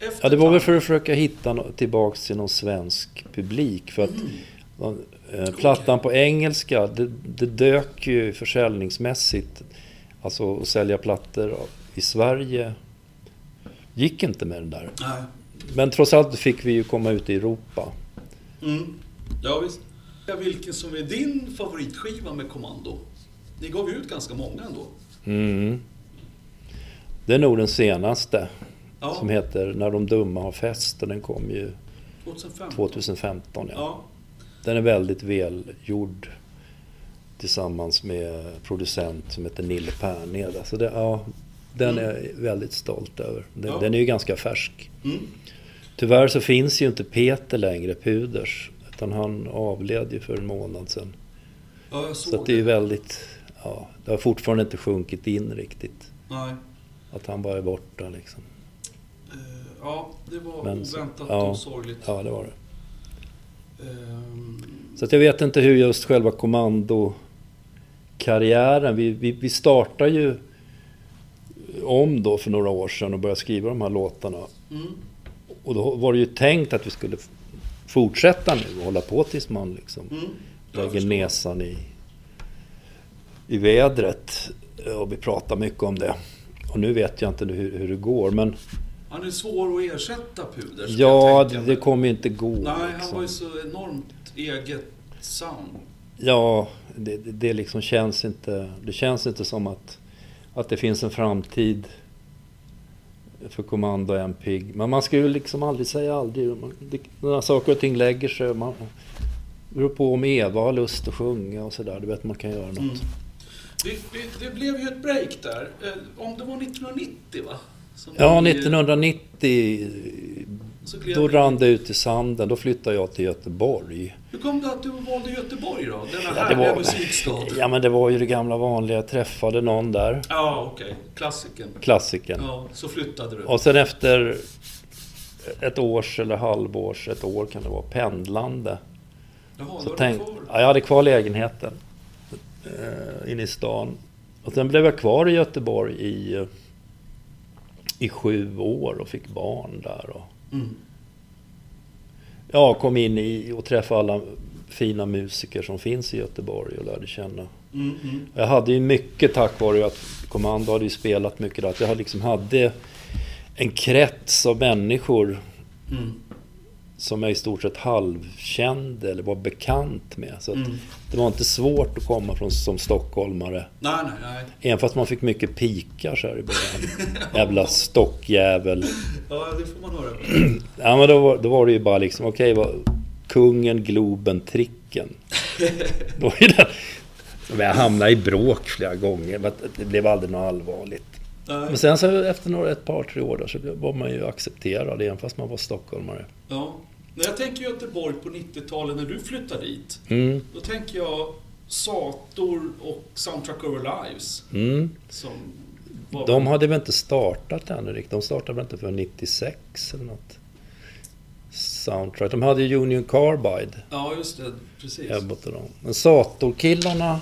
Speaker 1: Efter
Speaker 2: Ja, det var väl
Speaker 1: Time
Speaker 2: för att försöka hitta nå- tillbaks till någon svensk publik. För att eh, plattan på engelska, det, det dök ju försäljningsmässigt. Alltså att sälja plattor i Sverige gick inte med den där.
Speaker 1: Nej.
Speaker 2: Men trots allt fick vi ju komma ut i Europa.
Speaker 1: Mm. Ja, visst. Vilken som är din favoritskiva med Kommando? Ni gav ju ut ganska många ändå.
Speaker 2: Mm. Det är nog den senaste
Speaker 1: Ja,
Speaker 2: som heter När de dumma har fest och den kom ju
Speaker 1: 2005.
Speaker 2: 2015. Ja.
Speaker 1: Ja,
Speaker 2: Den är väldigt välgjord tillsammans med producent som heter Nille Perned. Alltså det, ja, den är jag väldigt stolt över. Den,
Speaker 1: Ja.
Speaker 2: den är ju ganska färsk.
Speaker 1: mm.
Speaker 2: Tyvärr så finns ju inte Peter längre, Puders. Utan han avled ju för en månad sedan.
Speaker 1: ja jag såg
Speaker 2: Så att det är ju väldigt... Ja, det har fortfarande inte sjunkit in riktigt.
Speaker 1: Nej.
Speaker 2: Att han bara är borta liksom.
Speaker 1: Eh, Ja, det var
Speaker 2: Men så-
Speaker 1: oväntat
Speaker 2: ja.
Speaker 1: och sorgligt.
Speaker 2: Ja, det var det.
Speaker 1: Ehm,
Speaker 2: Så att jag vet inte hur just själva kommandokarriären... Vi, vi, vi startade ju om då för några år sedan och började skriva de här låtarna.
Speaker 1: Mm.
Speaker 2: Och då var det ju tänkt att vi skulle f- fortsätta nu och hålla på tills man liksom
Speaker 1: Mm. Jag
Speaker 2: lägger
Speaker 1: förstår.
Speaker 2: näsan i, i vädret. Och vi pratar mycket om det. Och nu vet jag inte hur, hur det går men
Speaker 1: Han är svår att ersätta Puder. ska
Speaker 2: ja,
Speaker 1: jag tänka
Speaker 2: det,
Speaker 1: mig.
Speaker 2: det kommer ju inte gå.
Speaker 1: Nej, han
Speaker 2: liksom.
Speaker 1: var ju så enormt eget sound.
Speaker 2: Ja, det, det, det liksom känns inte, det känns inte som att, att det finns en framtid för Kommando och MPIG. Men man ska ju liksom aldrig säga aldrig. Man- det- När saker och ting lägger sig. Man, det beror på om Eva har lust att sjunga och sådär. Du vet, man kan göra något.
Speaker 1: Mm. Det, det, det blev ju ett break där. Eh, Om det var 1990 va? Som
Speaker 2: Ja,
Speaker 1: ni-
Speaker 2: 1990
Speaker 1: Så gled
Speaker 2: då
Speaker 1: ni-
Speaker 2: rann det ut i sanden. Då flyttade jag till Göteborg.
Speaker 1: Hur kom det att du valde Göteborg då? Denna
Speaker 2: Ja, det
Speaker 1: härliga
Speaker 2: var-
Speaker 1: musikstad. Ja,
Speaker 2: Ja, men det var ju det gamla vanliga. Jag träffade någon där.
Speaker 1: okej. Klassiken.
Speaker 2: Klassikern.
Speaker 1: Ja, så flyttade du.
Speaker 2: Och sen efter ett års eller halvårs, ett år kan det vara, pendlande.
Speaker 1: Jaha,
Speaker 2: Så
Speaker 1: var
Speaker 2: tänk,
Speaker 1: du kvar?
Speaker 2: ja, jag hade kvar lägenheten eh, inne i stan. Och sen blev jag kvar i Göteborg i, eh, i sju år och fick barn där. Och,
Speaker 1: Mm.
Speaker 2: ja, kom in i och träffade alla fina musiker som finns i Göteborg och lärde känna.
Speaker 1: Mm, mm.
Speaker 2: Jag hade ju mycket tack vare att Kommando hade ju spelat mycket där. Att jag liksom hade en krets av människor
Speaker 1: Mm.
Speaker 2: som jag i stort sett halvkände eller var bekant med. Så att
Speaker 1: Mm.
Speaker 2: det var inte svårt att komma från, som stockholmare.
Speaker 1: Nej, nej, nej.
Speaker 2: Även fast man fick mycket pikar så här i början. Jävla stockjävel.
Speaker 1: Ja, det får man höra.
Speaker 2: Ja, men då, var, då var det ju bara liksom, okej, vad, kungen, Globen, Tricken. då är det, men jag hamnade i bråk flera gånger, men det blev aldrig något allvarligt. Men
Speaker 1: Nej.
Speaker 2: sen så efter några, ett par, tre år där, så blev- var man ju accepterad, även fast man var stockholmare.
Speaker 1: Ja. När jag tänker Göteborg på 90-talet, när du flyttade dit,
Speaker 2: Mm,
Speaker 1: då tänker jag Sator och Soundtrack of Our Lives.
Speaker 2: mm.
Speaker 1: Som var...
Speaker 2: De hade väl inte startat ännu riktigt. De startade väl inte förrän 96 eller något. Soundtrack. De hade ju Union Carbide,
Speaker 1: Ja, just det. Precis.
Speaker 2: Ebbot och dem. Men Sator-killarna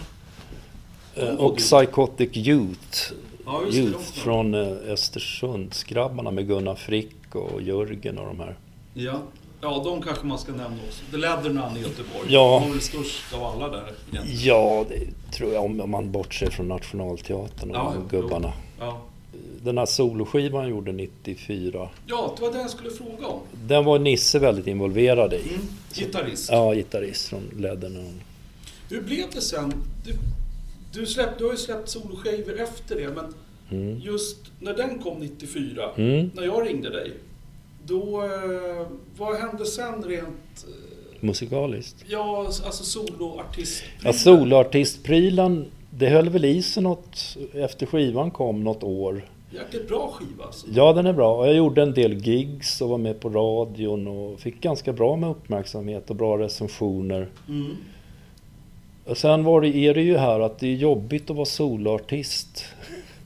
Speaker 2: eh,
Speaker 1: Oh,
Speaker 2: och
Speaker 1: du.
Speaker 2: Psychotic Youth.
Speaker 1: Ja, just det, de
Speaker 2: Youth
Speaker 1: snabbt.
Speaker 2: från eh, Östersundsgrabbarna med Gunnar Frick och Jörgen och de här.
Speaker 1: Ja. ja, de kanske man ska nämna också. The Leatherman i Göteborg.
Speaker 2: Ja.
Speaker 1: De var väl störst av alla där egentligen.
Speaker 2: Ja, det tror jag om om man bortser från Nationalteatern och
Speaker 1: Ja,
Speaker 2: de
Speaker 1: jo.
Speaker 2: gubbarna.
Speaker 1: Ja.
Speaker 2: Den här soloskivan han gjorde 94,
Speaker 1: ja, det var det jag skulle fråga om.
Speaker 2: den var Nisse väldigt involverad i.
Speaker 1: Mm. Gitarrist.
Speaker 2: Ja, gitarrist från Leaderman.
Speaker 1: Hur blev det sen? Du, du, släpp, du har ju släppt soloskivor efter det, men
Speaker 2: Mm.
Speaker 1: just när den kom 94,
Speaker 2: Mm.
Speaker 1: när jag ringde dig, då... Eh, vad hände sen rent... Eh,
Speaker 2: Musikaliskt.
Speaker 1: ja, alltså soloartist...
Speaker 2: Ja, soloartistprylen, det höll väl i sig något efter skivan kom något år.
Speaker 1: Jäkligt bra skiva alltså.
Speaker 2: Ja, den är bra. Och Jag gjorde en del gigs och var med på radion och fick ganska bra med uppmärksamhet och bra recensioner.
Speaker 1: Mm.
Speaker 2: Och sen var det, är det ju här att det är jobbigt att vara soloartist.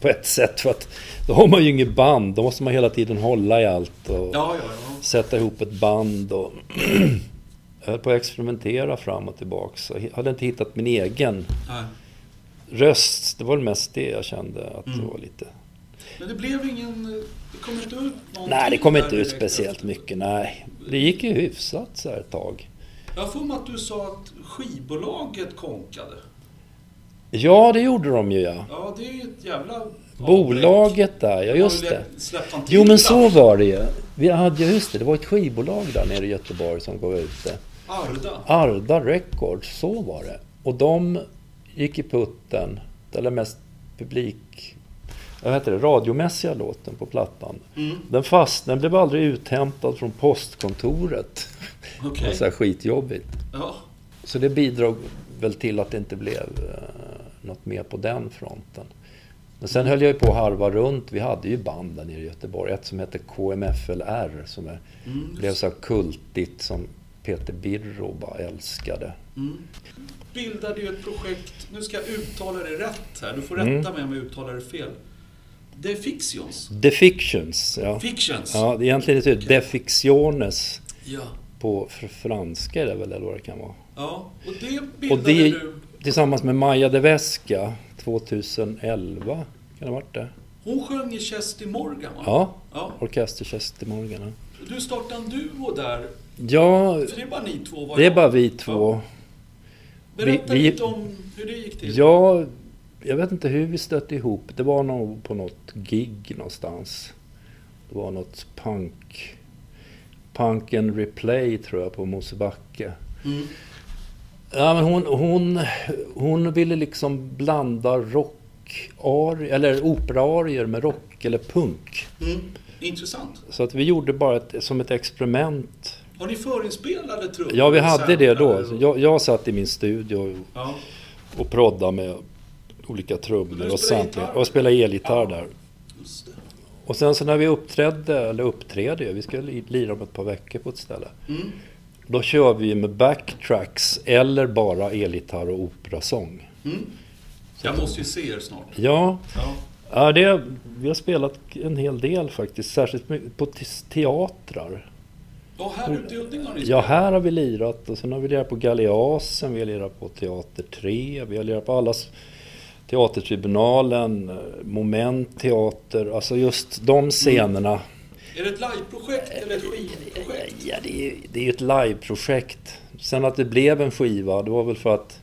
Speaker 2: På ett sätt för att då har man ju inget band. Då måste man hela tiden hålla i allt. Och...
Speaker 1: Ja, ja, ja.
Speaker 2: sätta ihop ett band och jag höll på att experimentera fram och tillbaks. Jag hade inte hittat min egen
Speaker 1: Nej.
Speaker 2: röst. Det var väl mest det jag kände att det
Speaker 1: Mm.
Speaker 2: var lite...
Speaker 1: Men det blev ingen... eh, Det kom inte ut någonting
Speaker 2: Nej, det kom
Speaker 1: där
Speaker 2: inte ut
Speaker 1: direkt
Speaker 2: speciellt
Speaker 1: efter.
Speaker 2: mycket. Nej, det gick ju hyfsat så här ett tag.
Speaker 1: Jag har för mig att du sa att skivbolaget konkade.
Speaker 2: Ja, det gjorde de ju ja.
Speaker 1: Ja, det är ju ett jävla...
Speaker 2: Bolaget där, ja just det.
Speaker 1: Släppte han till
Speaker 2: Jo men
Speaker 1: den?
Speaker 2: så var det ju. Vi hade, ja, just det, det var ett skivbolag där nere i Göteborg som gav ut det.
Speaker 1: Arda.
Speaker 2: Arda Records, så var det. Och de gick i putten, eller mest publik... vad heter det, radiomässiga låten på plattan.
Speaker 1: Mm.
Speaker 2: Den, fast, den blev aldrig uthämtad från postkontoret. Det
Speaker 1: Okej.
Speaker 2: var så här skitjobbigt.
Speaker 1: Ja.
Speaker 2: Så det bidrog väl till att det inte blev eh, något mer på den fronten. Men sen höll jag ju på att harva runt. Vi hade ju band där nere i Göteborg. Ett som hette KMFLR som är,
Speaker 1: Mm.
Speaker 2: blev så här kultigt som Peter Birro bara älskade.
Speaker 1: Mm. Bildade ju ett projekt, nu ska jag uttala det rätt här, du får
Speaker 2: Mm.
Speaker 1: rätta mig om jag uttalar det fel. The Fictions.
Speaker 2: The Fictions, ja.
Speaker 1: Fictions.
Speaker 2: ja det är egentligen heter det Defictiones
Speaker 1: Ja.
Speaker 2: på fr- franska är det väl, eller vad det kan vara.
Speaker 1: Ja, och det bildade
Speaker 2: Och det-
Speaker 1: du.
Speaker 2: Tillsammans med Maja Devesca 2011, kan det ha varit det?
Speaker 1: Hon sjöng i Chesty Morgan va?
Speaker 2: Ja,
Speaker 1: ja.
Speaker 2: Orkester Kerstin Morgan. ja.
Speaker 1: Du startade en duo där,
Speaker 2: Ja,
Speaker 1: för det är bara ni två var
Speaker 2: det är
Speaker 1: jag.
Speaker 2: bara vi två.
Speaker 1: Berätta
Speaker 2: vi-
Speaker 1: lite om hur det gick till.
Speaker 2: Ja, jag vet inte hur vi stötte ihop. Det var nog på något gig någonstans. Det var något punk... Punk and Replay tror jag på Mosebacke.
Speaker 1: Mm.
Speaker 2: Ja, men hon, hon, hon ville liksom blanda rock eller operaarier med rock eller punk.
Speaker 1: Mm. Intressant.
Speaker 2: Så att vi gjorde bara ett, som ett experiment.
Speaker 1: Har ni förinspelade trummor?
Speaker 2: Ja, vi hade det då.
Speaker 1: Eller-
Speaker 2: Jag, jag satt i min studio
Speaker 1: Ja.
Speaker 2: och prodda med olika
Speaker 1: Men
Speaker 2: trummor
Speaker 1: du
Speaker 2: och,
Speaker 1: spelar
Speaker 2: sampling-
Speaker 1: gitarr?
Speaker 2: och spela elgitarr
Speaker 1: Ja.
Speaker 2: där.
Speaker 1: Just det.
Speaker 2: Och sen så när vi uppträdde, eller uppträdde ju, vi skulle li- lira om ett par veckor på ett ställe.
Speaker 1: Mm.
Speaker 2: Då kör vi med backtracks eller bara elgitarr och operasång.
Speaker 1: Mm. Jag måste ju se er snart.
Speaker 2: Ja,
Speaker 1: Ja.
Speaker 2: ja det, vi har spelat en hel del faktiskt, särskilt my- på te- teatrar.
Speaker 1: Och här ute i Huddinge har ni
Speaker 2: Ja, här har vi lirat och sen har vi lirat på Galeasen, vi har lirat på Teater 3, vi har lirat på alla s- Teatertribunalen, eh, Moment Teater, alltså just de scenerna.
Speaker 1: Är det ett liveprojekt eller ett skivprojekt?
Speaker 2: Ja, det är ju det är ju ett liveprojekt. Sen att det blev en skiva, det var väl för att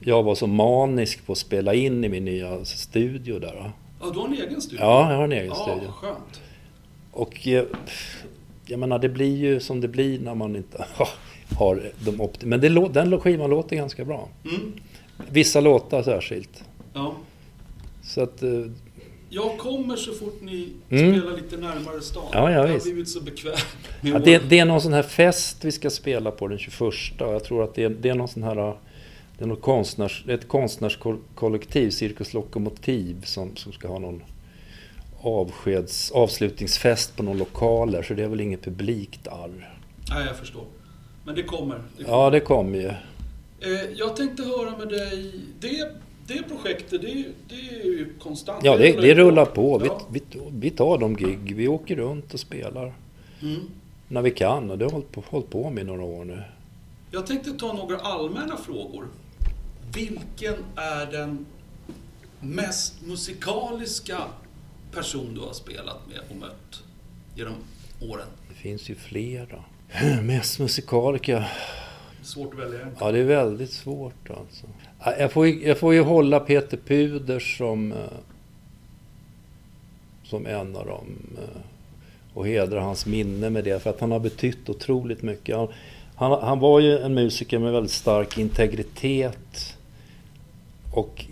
Speaker 2: jag var så manisk på att spela in i min nya studio där. va.
Speaker 1: Ja, du har en egen studio?
Speaker 2: Ja, jag har en egen
Speaker 1: ja
Speaker 2: studio.
Speaker 1: skönt.
Speaker 2: Och eh, jag menar, det blir ju som det blir när man inte har de opt- Men det, lå- den skivan låter ganska bra.
Speaker 1: Mm.
Speaker 2: Vissa låtar särskilt.
Speaker 1: Ja.
Speaker 2: Så att, eh,
Speaker 1: Jag kommer så fort ni
Speaker 2: Mm.
Speaker 1: spelar lite närmare stan.
Speaker 2: Ja, ja,
Speaker 1: jag har
Speaker 2: visst.
Speaker 1: blivit så bekväm med
Speaker 2: ja,
Speaker 1: åren.
Speaker 2: det, det är någon sån här fest vi ska spela på den 21. och Jag tror att det är, det är någon sån här... eh, Det är något konstnärs, ett konstnärskollektiv, Cirkus Lokomotiv, som, som ska ha någon avskeds, avslutningsfest på någon lokaler. Så det är väl inget publikt arr.
Speaker 1: Nej, jag förstår. Men det kommer. Det kommer.
Speaker 2: Ja, det kom ju.
Speaker 1: Eh, jag tänkte höra med dig. Det, det projektet, det, det är ju konstant.
Speaker 2: Ja, det, det rullar på. Vi,
Speaker 1: Ja.
Speaker 2: vi, vi tar de gig. Vi åker runt och spelar
Speaker 1: Mm.
Speaker 2: när vi kan. Och det har hållit på, hållit på med i några år nu.
Speaker 1: Jag tänkte ta några allmänna frågor. Vilken är den mest musikaliska person du har spelat med och mött genom åren?
Speaker 2: Det finns ju flera. Mest musikaliska.
Speaker 1: Svårt att välja en.
Speaker 2: Ja, det är väldigt svårt alltså. Ja, Jag får, ju- jag får ju hålla Peter Puder som, eh, som en av dem. eh, Och hedra hans minne med det, för att han har betytt otroligt mycket. Han, han, han var ju en musiker med väldigt stark integritet och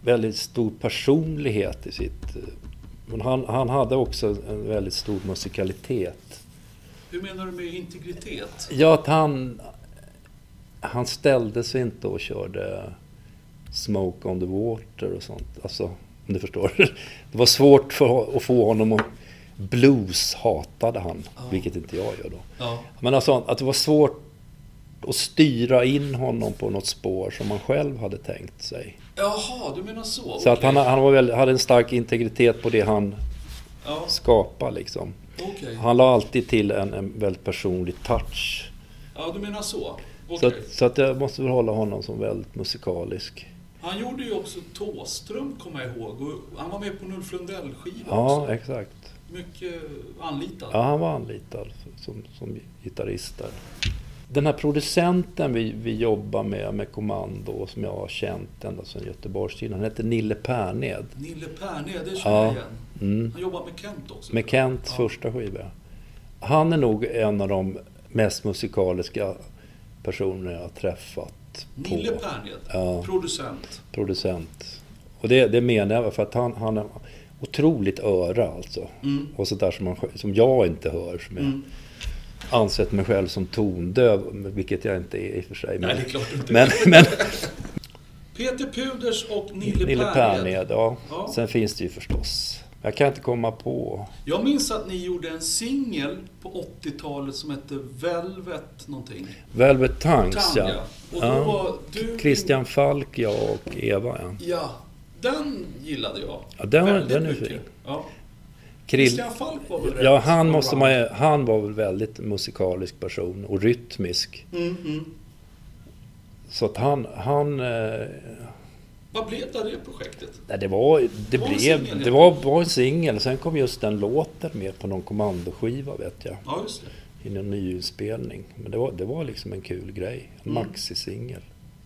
Speaker 2: väldigt stor personlighet i sitt... eh, Men han, han hade också en väldigt stor musikalitet.
Speaker 1: Hur menar du med integritet?
Speaker 2: Ja, att han... Han ställde sig inte och körde Smoke on the Water och sånt. Alltså, om du förstår. Det var svårt för, att få honom att... Blues hatade han,
Speaker 1: Ja.
Speaker 2: vilket inte jag gör då.
Speaker 1: Ja.
Speaker 2: Men alltså, att det var svårt att styra in honom på något spår som han själv hade tänkt sig.
Speaker 1: Jaha, du menar så?
Speaker 2: Så att
Speaker 1: Okej.
Speaker 2: han, han var väl, hade en stark integritet på det han
Speaker 1: Ja,
Speaker 2: skapade liksom.
Speaker 1: okej.
Speaker 2: Han la alltid till en, en väldigt personlig touch
Speaker 1: Ja, du menar så?
Speaker 2: Så,
Speaker 1: Okej.
Speaker 2: att, så att jag måste väl hålla honom som väldigt musikalisk.
Speaker 1: Han gjorde ju också Tåström, kommer jag ihåg. Och han var med på en Ulf Lundell-skiva
Speaker 2: Ja,
Speaker 1: också.
Speaker 2: exakt.
Speaker 1: Mycket anlitad.
Speaker 2: Ja, han var anlitad som, som gitarrist där. Den här producenten vi, vi jobbar med, med Kommando, som jag har känt ända sedan Göteborgstiden, han heter Nille Perned.
Speaker 1: Nille Perned, det
Speaker 2: Ja.
Speaker 1: känner jag igen.
Speaker 2: Mm.
Speaker 1: Han jobbar med Kent också.
Speaker 2: Med Kents
Speaker 1: Ja.
Speaker 2: första skiva. Han är nog en av de mest musikaliska personer jag har träffat. På.
Speaker 1: Nille Perned,
Speaker 2: Ja.
Speaker 1: producent.
Speaker 2: producent. Och det, det menar jag, för att han, han, otroligt öra alltså.
Speaker 1: Mm.
Speaker 2: Och sådär som, man, sj- som jag inte hör, som jag
Speaker 1: Mm.
Speaker 2: ansett mig själv som tondöv, vilket jag inte är i och för
Speaker 1: Nej,
Speaker 2: sig. Men,
Speaker 1: det är klart du inte.
Speaker 2: men, men
Speaker 1: Peter Puders och Nille,
Speaker 2: Nille
Speaker 1: Pernhed.
Speaker 2: Pernhed, ja.
Speaker 1: Ja.
Speaker 2: Sen finns det ju förstås. Jag kan inte komma på.
Speaker 1: Jag minns att ni gjorde en singel på 80-talet som hette Velvet någonting.
Speaker 2: Velvet Tanks,
Speaker 1: Tanja.
Speaker 2: ja.
Speaker 1: Och då
Speaker 2: Ja.
Speaker 1: var du...
Speaker 2: Christian Falk, jag och Eva, ja.
Speaker 1: Ja, den gillade jag.
Speaker 2: ja den, var-
Speaker 1: Väldigt
Speaker 2: den är
Speaker 1: mycket.
Speaker 2: fin.
Speaker 1: Ja.
Speaker 2: Krill,
Speaker 1: Christian Falk var väl rätt
Speaker 2: ja, han, måste
Speaker 1: allround.
Speaker 2: man, ju- han var väl väldigt musikalisk person och rytmisk.
Speaker 1: Mm, mm.
Speaker 2: Så att han... han eh,
Speaker 1: Vad blev det av det projektet?
Speaker 2: nej, det var, det
Speaker 1: var en singel,
Speaker 2: blev,
Speaker 1: helt
Speaker 2: det var, var en singel. Sen kom just den låten med på någon kommandoskiva, vet jag.
Speaker 1: Ja, just det.
Speaker 2: I någon nyinspelning. Men det var, det var liksom en kul grej. En
Speaker 1: Mm.
Speaker 2: maxisingel.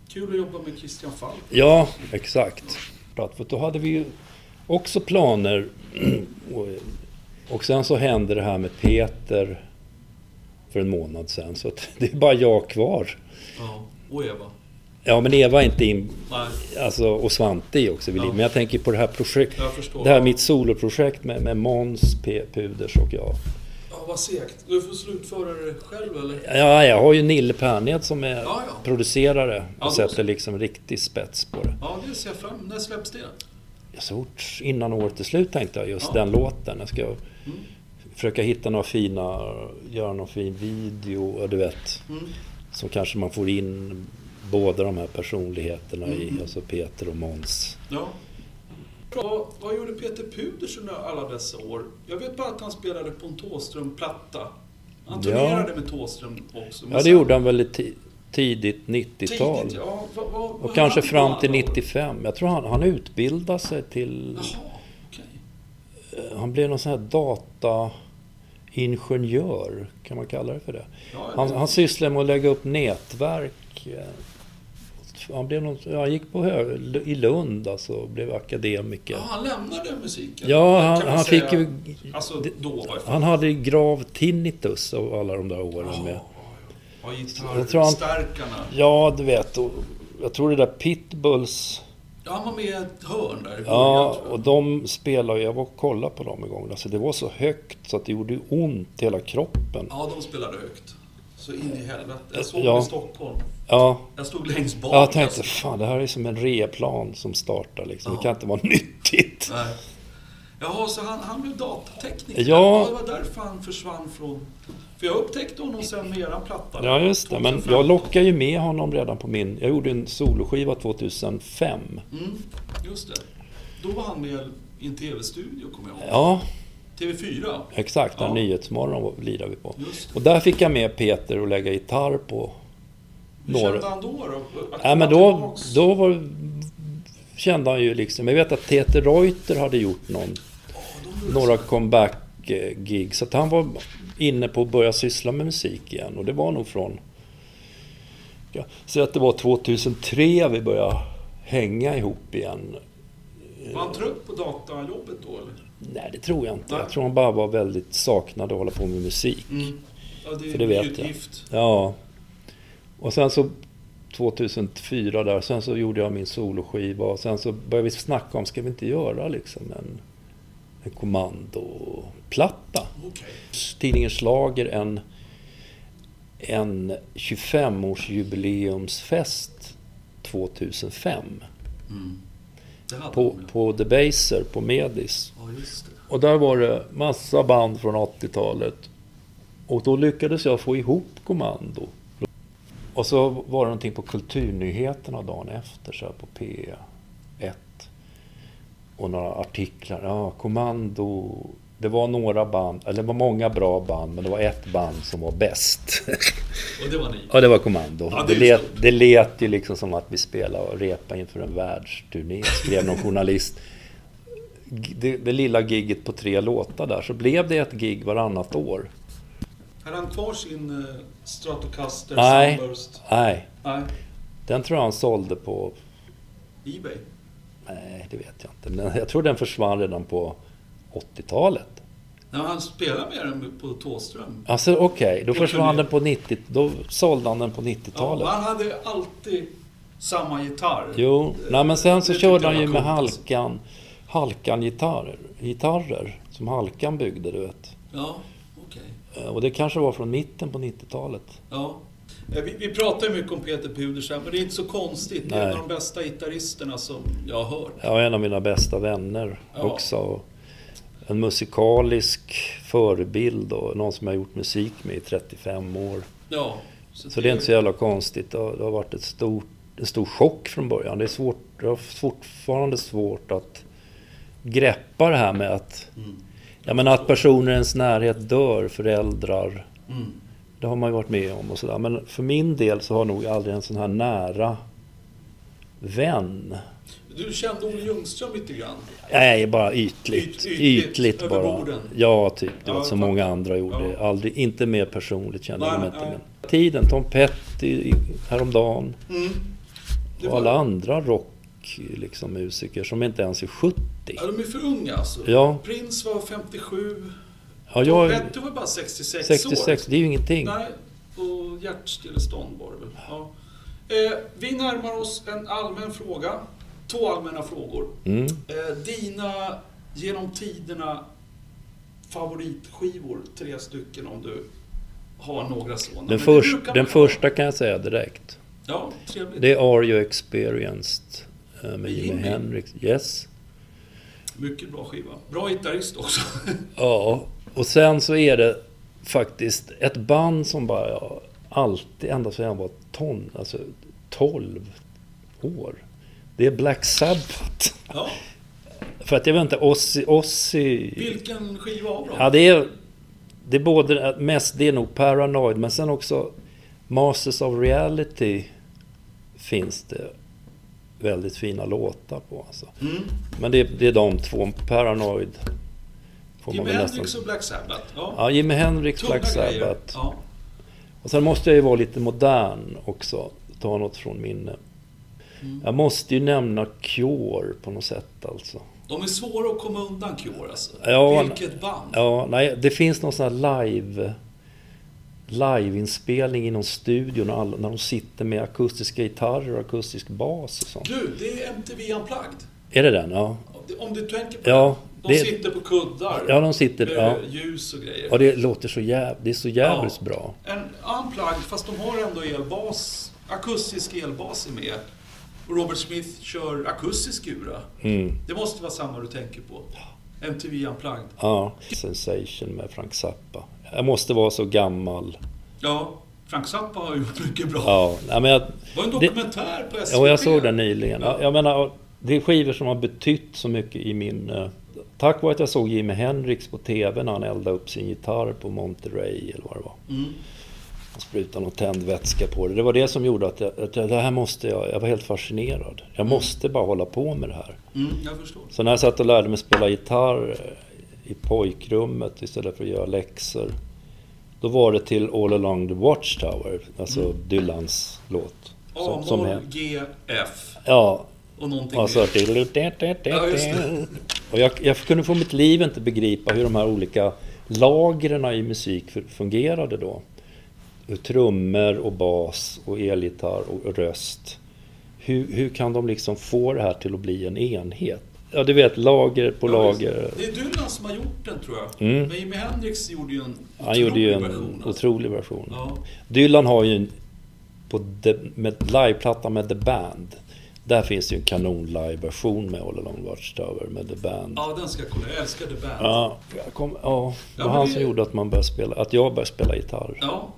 Speaker 1: Kul att jobba med Christian Falk.
Speaker 2: Ja, exakt. För att då hade vi ju också planer. Och, och sen så hände det här med Peter för en månad sen. Så att det är bara jag kvar.
Speaker 1: Ja, och Eva.
Speaker 2: Ja, men Eva är inte in...
Speaker 1: Nej,
Speaker 2: Alltså, och Svante är också vid liv.
Speaker 1: Ja.
Speaker 2: Men jag tänker på det här projektet.
Speaker 1: jag förstår.
Speaker 2: Det här mitt soloprojekt med, med Måns, P- Puders och jag.
Speaker 1: Ja, vad segt. Du får slutföra det själv, eller?
Speaker 2: Ja, jag har ju Nille Pernhed som är
Speaker 1: Ja, ja.
Speaker 2: producerare
Speaker 1: Ja,
Speaker 2: och
Speaker 1: då så.
Speaker 2: sätter liksom riktig spets på det.
Speaker 1: Ja, det ser jag fram När släpps det?
Speaker 2: så fort innan året är slut tänkte jag just
Speaker 1: Ja.
Speaker 2: den låten. Jag ska
Speaker 1: Mm,
Speaker 2: försöka hitta några fina, göra någon fin video, ja, du vet.
Speaker 1: Mm.
Speaker 2: Så kanske man får in båda de här personligheterna
Speaker 1: Mm.
Speaker 2: i, alltså Peter och Måns.
Speaker 1: Ja. Vad, vad gjorde Peter Puders under alla dessa år? Jag vet bara att han spelade på en Thåström-platta. Han
Speaker 2: Ja.
Speaker 1: turnerade med Thåström också. men
Speaker 2: Ja, det
Speaker 1: sen-
Speaker 2: gjorde han väl i ti- tidigt 90-tal.
Speaker 1: tidigt, ja. Vad- vad- vad
Speaker 2: Och kanske
Speaker 1: hade han
Speaker 2: fram till
Speaker 1: då?
Speaker 2: 95. Jag tror han, han utbildade sig till...
Speaker 1: Jaha, okej.
Speaker 2: eh, Han blev någon sån här dataingenjör, kan man kalla det för det?
Speaker 1: Ja,
Speaker 2: Han, han sysslade med att lägga upp nätverk. eh, Han, blev någon, ja, han gick på hö, i Lund alltså, och blev akademiker.
Speaker 1: ja, han lämnade musiken.
Speaker 2: Ja,
Speaker 1: Ah, Kan
Speaker 2: han,
Speaker 1: man
Speaker 2: han
Speaker 1: säga.
Speaker 2: fick ju...
Speaker 1: Alltså,
Speaker 2: det-
Speaker 1: då var jag...
Speaker 2: Han hade grav tinnitus av alla de där åren med.
Speaker 1: Jaha. Ja,
Speaker 2: Jag tror han-
Speaker 1: gitarrstärkarna.
Speaker 2: Ja, du vet. Och jag tror det där Pitbulls...
Speaker 1: Ja, han var med i ett hörn där i
Speaker 2: Ja,
Speaker 1: början, tror
Speaker 2: och de spelade... Jag var och kollade på dem en gång. Alltså, det var så högt så att det gjorde ju ont i hela kroppen.
Speaker 1: jag. ja, de spelade högt. Så in i helvete. Jag såg
Speaker 2: Ja.
Speaker 1: dem i Stockholm.
Speaker 2: Ja,
Speaker 1: Jag stod längst bak.
Speaker 2: jag tänkte
Speaker 1: alltså.
Speaker 2: fan det här är som en replan som startar liksom.
Speaker 1: Ja.
Speaker 2: Det kan inte vara nyttigt.
Speaker 1: Nej. Jaha, så han, han blev datatekniker?
Speaker 2: Ja.
Speaker 1: Det var därför han försvann från... För jag upptäckte honom sen med eran platta.
Speaker 2: Ja, just det. Men
Speaker 1: 2005.
Speaker 2: jag lockade ju med honom redan på min... Jag gjorde en soloskiva 2005.
Speaker 1: Mm, just det. Då var han med i en TV-studio, kommer jag ihåg.
Speaker 2: Ja,
Speaker 1: TV4.
Speaker 2: exakt. Där
Speaker 1: Ja.
Speaker 2: Nyhetsmorgon lirade vi på.
Speaker 1: Just det.
Speaker 2: Och där fick jag med Peter och lägga gitarr på.
Speaker 1: Hur
Speaker 2: Några-
Speaker 1: kände han då? då? Att
Speaker 2: Nej, men
Speaker 1: komma
Speaker 2: då,
Speaker 1: tillbaks?
Speaker 2: då var, kände han ju liksom... Jag vet att Peter Reuter hade gjort någon,
Speaker 1: Ja, de gjorde
Speaker 2: några comeback-gig. Så att han var inne på att börja syssla med musik igen. Och det var nog från... Ja, så att det var 2003 vi började hänga ihop igen.
Speaker 1: så. Var han trött på datajobbet då, eller?
Speaker 2: Nej, det tror jag inte.
Speaker 1: Nej.
Speaker 2: Jag tror han bara var väldigt saknad att hålla på med musik.
Speaker 1: Mm. Ja, det är
Speaker 2: För det vet
Speaker 1: ju
Speaker 2: jag.
Speaker 1: gift.
Speaker 2: Ja. Och sen så 2004 där, sen så gjorde jag min soloskiva och sen så började vi snacka om, ska vi inte göra liksom en, en kommandoplatta?
Speaker 1: Okej.
Speaker 2: Tidningen Slager en, en 25-årsjubileumsfest 2005
Speaker 1: Mm. Det hade
Speaker 2: på,
Speaker 1: de, ja.
Speaker 2: på Debaser på Medis.
Speaker 1: Ja, just det.
Speaker 2: Och där var det massa band från 80-talet. Och då lyckades jag få ihop kommando. Och så var det någonting på Kulturnyheterna dagen efter, så här på P1. Och några artiklar. Ja, kommando. Det var några band, eller det var många bra band, men det var ett band som var bäst.
Speaker 1: Och det var ni?
Speaker 2: Ja, det var kommando.
Speaker 1: Ja, det
Speaker 2: det,
Speaker 1: är ju
Speaker 2: let,
Speaker 1: stort.
Speaker 2: det let ju liksom som att vi spelade och repade inför en världsturné, skrev någon journalist. G- Det, det lilla gigget på tre låtar där, så blev det ett gig varannat år.
Speaker 1: Hade han kvar sin eh, Stratocaster
Speaker 2: Nej.
Speaker 1: Sunburst?
Speaker 2: Nej,
Speaker 1: Nej.
Speaker 2: den tror jag han sålde på...
Speaker 1: Ebay?
Speaker 2: Nej, det vet jag inte. Men jag tror den försvann redan på 80-talet.
Speaker 1: Nej, han spelade med den på Thåström.
Speaker 2: Alltså okej, då
Speaker 1: Kanske
Speaker 2: försvann
Speaker 1: det.
Speaker 2: den på 90... Då sålde han den på
Speaker 1: Ja, men
Speaker 2: 90-talet.
Speaker 1: han hade alltid samma gitarr.
Speaker 2: Jo, nej men sen så
Speaker 1: Det
Speaker 2: körde
Speaker 1: tyckte
Speaker 2: han
Speaker 1: jag
Speaker 2: ju
Speaker 1: var
Speaker 2: med
Speaker 1: coolt, alltså.
Speaker 2: Halkan Halkan-gitarrer gitarrer, som Halkan byggde, du vet.
Speaker 1: Ja, okej.
Speaker 2: Eh, Och det kanske var från mitten på 90-talet.
Speaker 1: Ja. Eh, Vi, vi pratar ju mycket om Peter Pudersen, men det är inte så konstigt. Det är
Speaker 2: Nej.
Speaker 1: en av de bästa gitarristerna som jag har hört.
Speaker 2: Jag var en av mina bästa vänner
Speaker 1: Ja.
Speaker 2: också. Och En musikalisk förebild och någon som jag har gjort musik med i 35 år.
Speaker 1: Ja.
Speaker 2: Så det är inte så jävla konstigt. Det har, det har varit ett stort, en stor chock från början. Det är svårt, jag har fortfarande svårt att greppa det här med att...
Speaker 1: Mm.
Speaker 2: Ja, men att personer i ens närhet dör, föräldrar.
Speaker 1: Mm.
Speaker 2: Det har man ju varit med om och sådär. Men för min del så har nog aldrig en sån här nära vän.
Speaker 1: Du kände Olle Ljungström lite grann?
Speaker 2: Nej, bara ytligt.
Speaker 1: Yt- ytligt,
Speaker 2: ytligt,
Speaker 1: över
Speaker 2: bara.
Speaker 1: borden.
Speaker 2: Ja, typ. Det
Speaker 1: Ja,
Speaker 2: var som
Speaker 1: jag
Speaker 2: många andra gjorde.
Speaker 1: Ja.
Speaker 2: Aldrig, inte mer personligt kände
Speaker 1: Nej,
Speaker 2: jag mig inte.
Speaker 1: nej.
Speaker 2: Men tiden, Tom Petty i- häromdagen.
Speaker 1: Mm. Det
Speaker 2: Och alla andra rockmusiker liksom, musiker som inte ens är 70.
Speaker 1: Ja, de är för unga alltså.
Speaker 2: Ja,
Speaker 1: Prins var 57.
Speaker 2: ja jag
Speaker 1: Jag...
Speaker 2: är
Speaker 1: Petty var bara 66, år.
Speaker 2: 66, det är ju ingenting.
Speaker 1: Nej, och hjärtstillestånd var det väl. Ja. Eh, vi närmar oss en allmän fråga. Två allmänna frågor.
Speaker 2: Mm.
Speaker 1: Eh, dina genom tiderna favoritskivor, tre stycken om du har några sådana. Men
Speaker 2: Den,
Speaker 1: det
Speaker 2: förs-
Speaker 1: brukar man
Speaker 2: den
Speaker 1: ha.
Speaker 2: första kan jag säga direkt.
Speaker 1: Ja, trevligt.
Speaker 2: Det är Are You Experienced eh, med
Speaker 1: Med
Speaker 2: Jimi
Speaker 1: Jimi.
Speaker 2: Hendrix. Yes.
Speaker 1: Mycket bra skiva. Bra gitarrist också.
Speaker 2: Ja, och sen så är det faktiskt ett band som bara ja, alltid, ända sedan jag var ton, alltså 12 år. Det är Black Sabbath.
Speaker 1: ja.
Speaker 2: För att jag vet inte, Ozzy... Ozzy
Speaker 1: Vilken skiva av dem?
Speaker 2: ja, det är... Det är både, mest, det är nog Paranoid, men sen också Masters of Reality finns det väldigt fina låtar på. Alltså.
Speaker 1: Mm.
Speaker 2: Men det, är- det är de två, Paranoid får man
Speaker 1: Jimi
Speaker 2: väl nästan...
Speaker 1: Hendrix och Black Sabbath. Ja.
Speaker 2: Ja, Jimi Hendrix,
Speaker 1: Tunga
Speaker 2: Black
Speaker 1: grejer.
Speaker 2: Sabbath.
Speaker 1: Ja.
Speaker 2: Och sen måste jag ju vara lite modern också. Ta något från minne.
Speaker 1: Mm.
Speaker 2: Jag måste ju nämna Cure på något sätt alltså.
Speaker 1: De är svåra att komma undan Cure alltså.
Speaker 2: Ja,
Speaker 1: Vilket band.
Speaker 2: Ja, nej, det finns någon sån här live... Liveinspelning i någon studio när, alla, när de sitter med akustiska gitarrer och akustisk bas och sånt.
Speaker 1: Du, det är MTV Unplugged.
Speaker 2: Är det den? Ja.
Speaker 1: Om du tänker på
Speaker 2: Ja,
Speaker 1: det. De
Speaker 2: det,
Speaker 1: sitter på kuddar.
Speaker 2: ja de sitter... Ja.
Speaker 1: eh, Ljus och grejer.
Speaker 2: ja, det låter så jävligt... Det är så jävligt bra.
Speaker 1: En unplugged, fast de har ändå elbas, akustisk elbas är med. Och Robert Smith kör akustisk ura.
Speaker 2: Mm.
Speaker 1: Det måste vara samma du tänker på. MTV Unplugged.
Speaker 2: Ja. Sensation med Frank Zappa. Jag måste vara så gammal.
Speaker 1: Ja, Frank Zappa har gjort mycket bra.
Speaker 2: Ja, ja, men jag,
Speaker 1: Det var en dokumentär på SVT.
Speaker 2: ja, jag såg den nyligen. Ja, Jag menar, det är skivor som har betytt så mycket i min... eh, Tack vare att jag såg Jimi Hendrix på TV när han eldade upp sin gitarr på Monterey eller vad det var.
Speaker 1: Mm.
Speaker 2: Han sprutade någon tändvätska på det. Det var det som gjorde att jag, att jag, det här måste jag... Jag var helt fascinerad. Jag måste bara hålla på med det här.
Speaker 1: Mm, jag förstår.
Speaker 2: Så när jag satt och lärde mig spela gitarr eh, i pojkrummet istället för att göra läxor. Då var det till All Along the Watchtower, alltså Dylans låt.
Speaker 1: A, moll, G, F
Speaker 2: ja,
Speaker 1: och någonting
Speaker 2: och så...
Speaker 1: mer. Ja, just det.
Speaker 2: Och jag, jag kunde för mitt liv inte begripa hur de här olika lagren i musik fu- fungerade då. Hur Trummor och bas och elgitarr och röst. Hur, hur kan de liksom få det här till att bli en enhet? Ja, du vet, lager på
Speaker 1: Ja, visst.
Speaker 2: lager.
Speaker 1: Det är Dylan som har gjort den tror jag.
Speaker 2: Mm.
Speaker 1: Men Jimi Hendrix gjorde ju en
Speaker 2: Han gjorde ju en
Speaker 1: version. alltså.
Speaker 2: otrolig version.
Speaker 1: Ja.
Speaker 2: Dylan har ju en, på the, med liveplatta med The Band. Där finns ju en kanon live-version med All Along Watchtower med The Band.
Speaker 1: ja, den ska jag kolla. Jag älskar The Band.
Speaker 2: Ja, jag kom, ja, det
Speaker 1: Ja,
Speaker 2: var
Speaker 1: men
Speaker 2: han
Speaker 1: det-
Speaker 2: som gjorde att, man började spela, att jag började spela gitarr.
Speaker 1: Ja.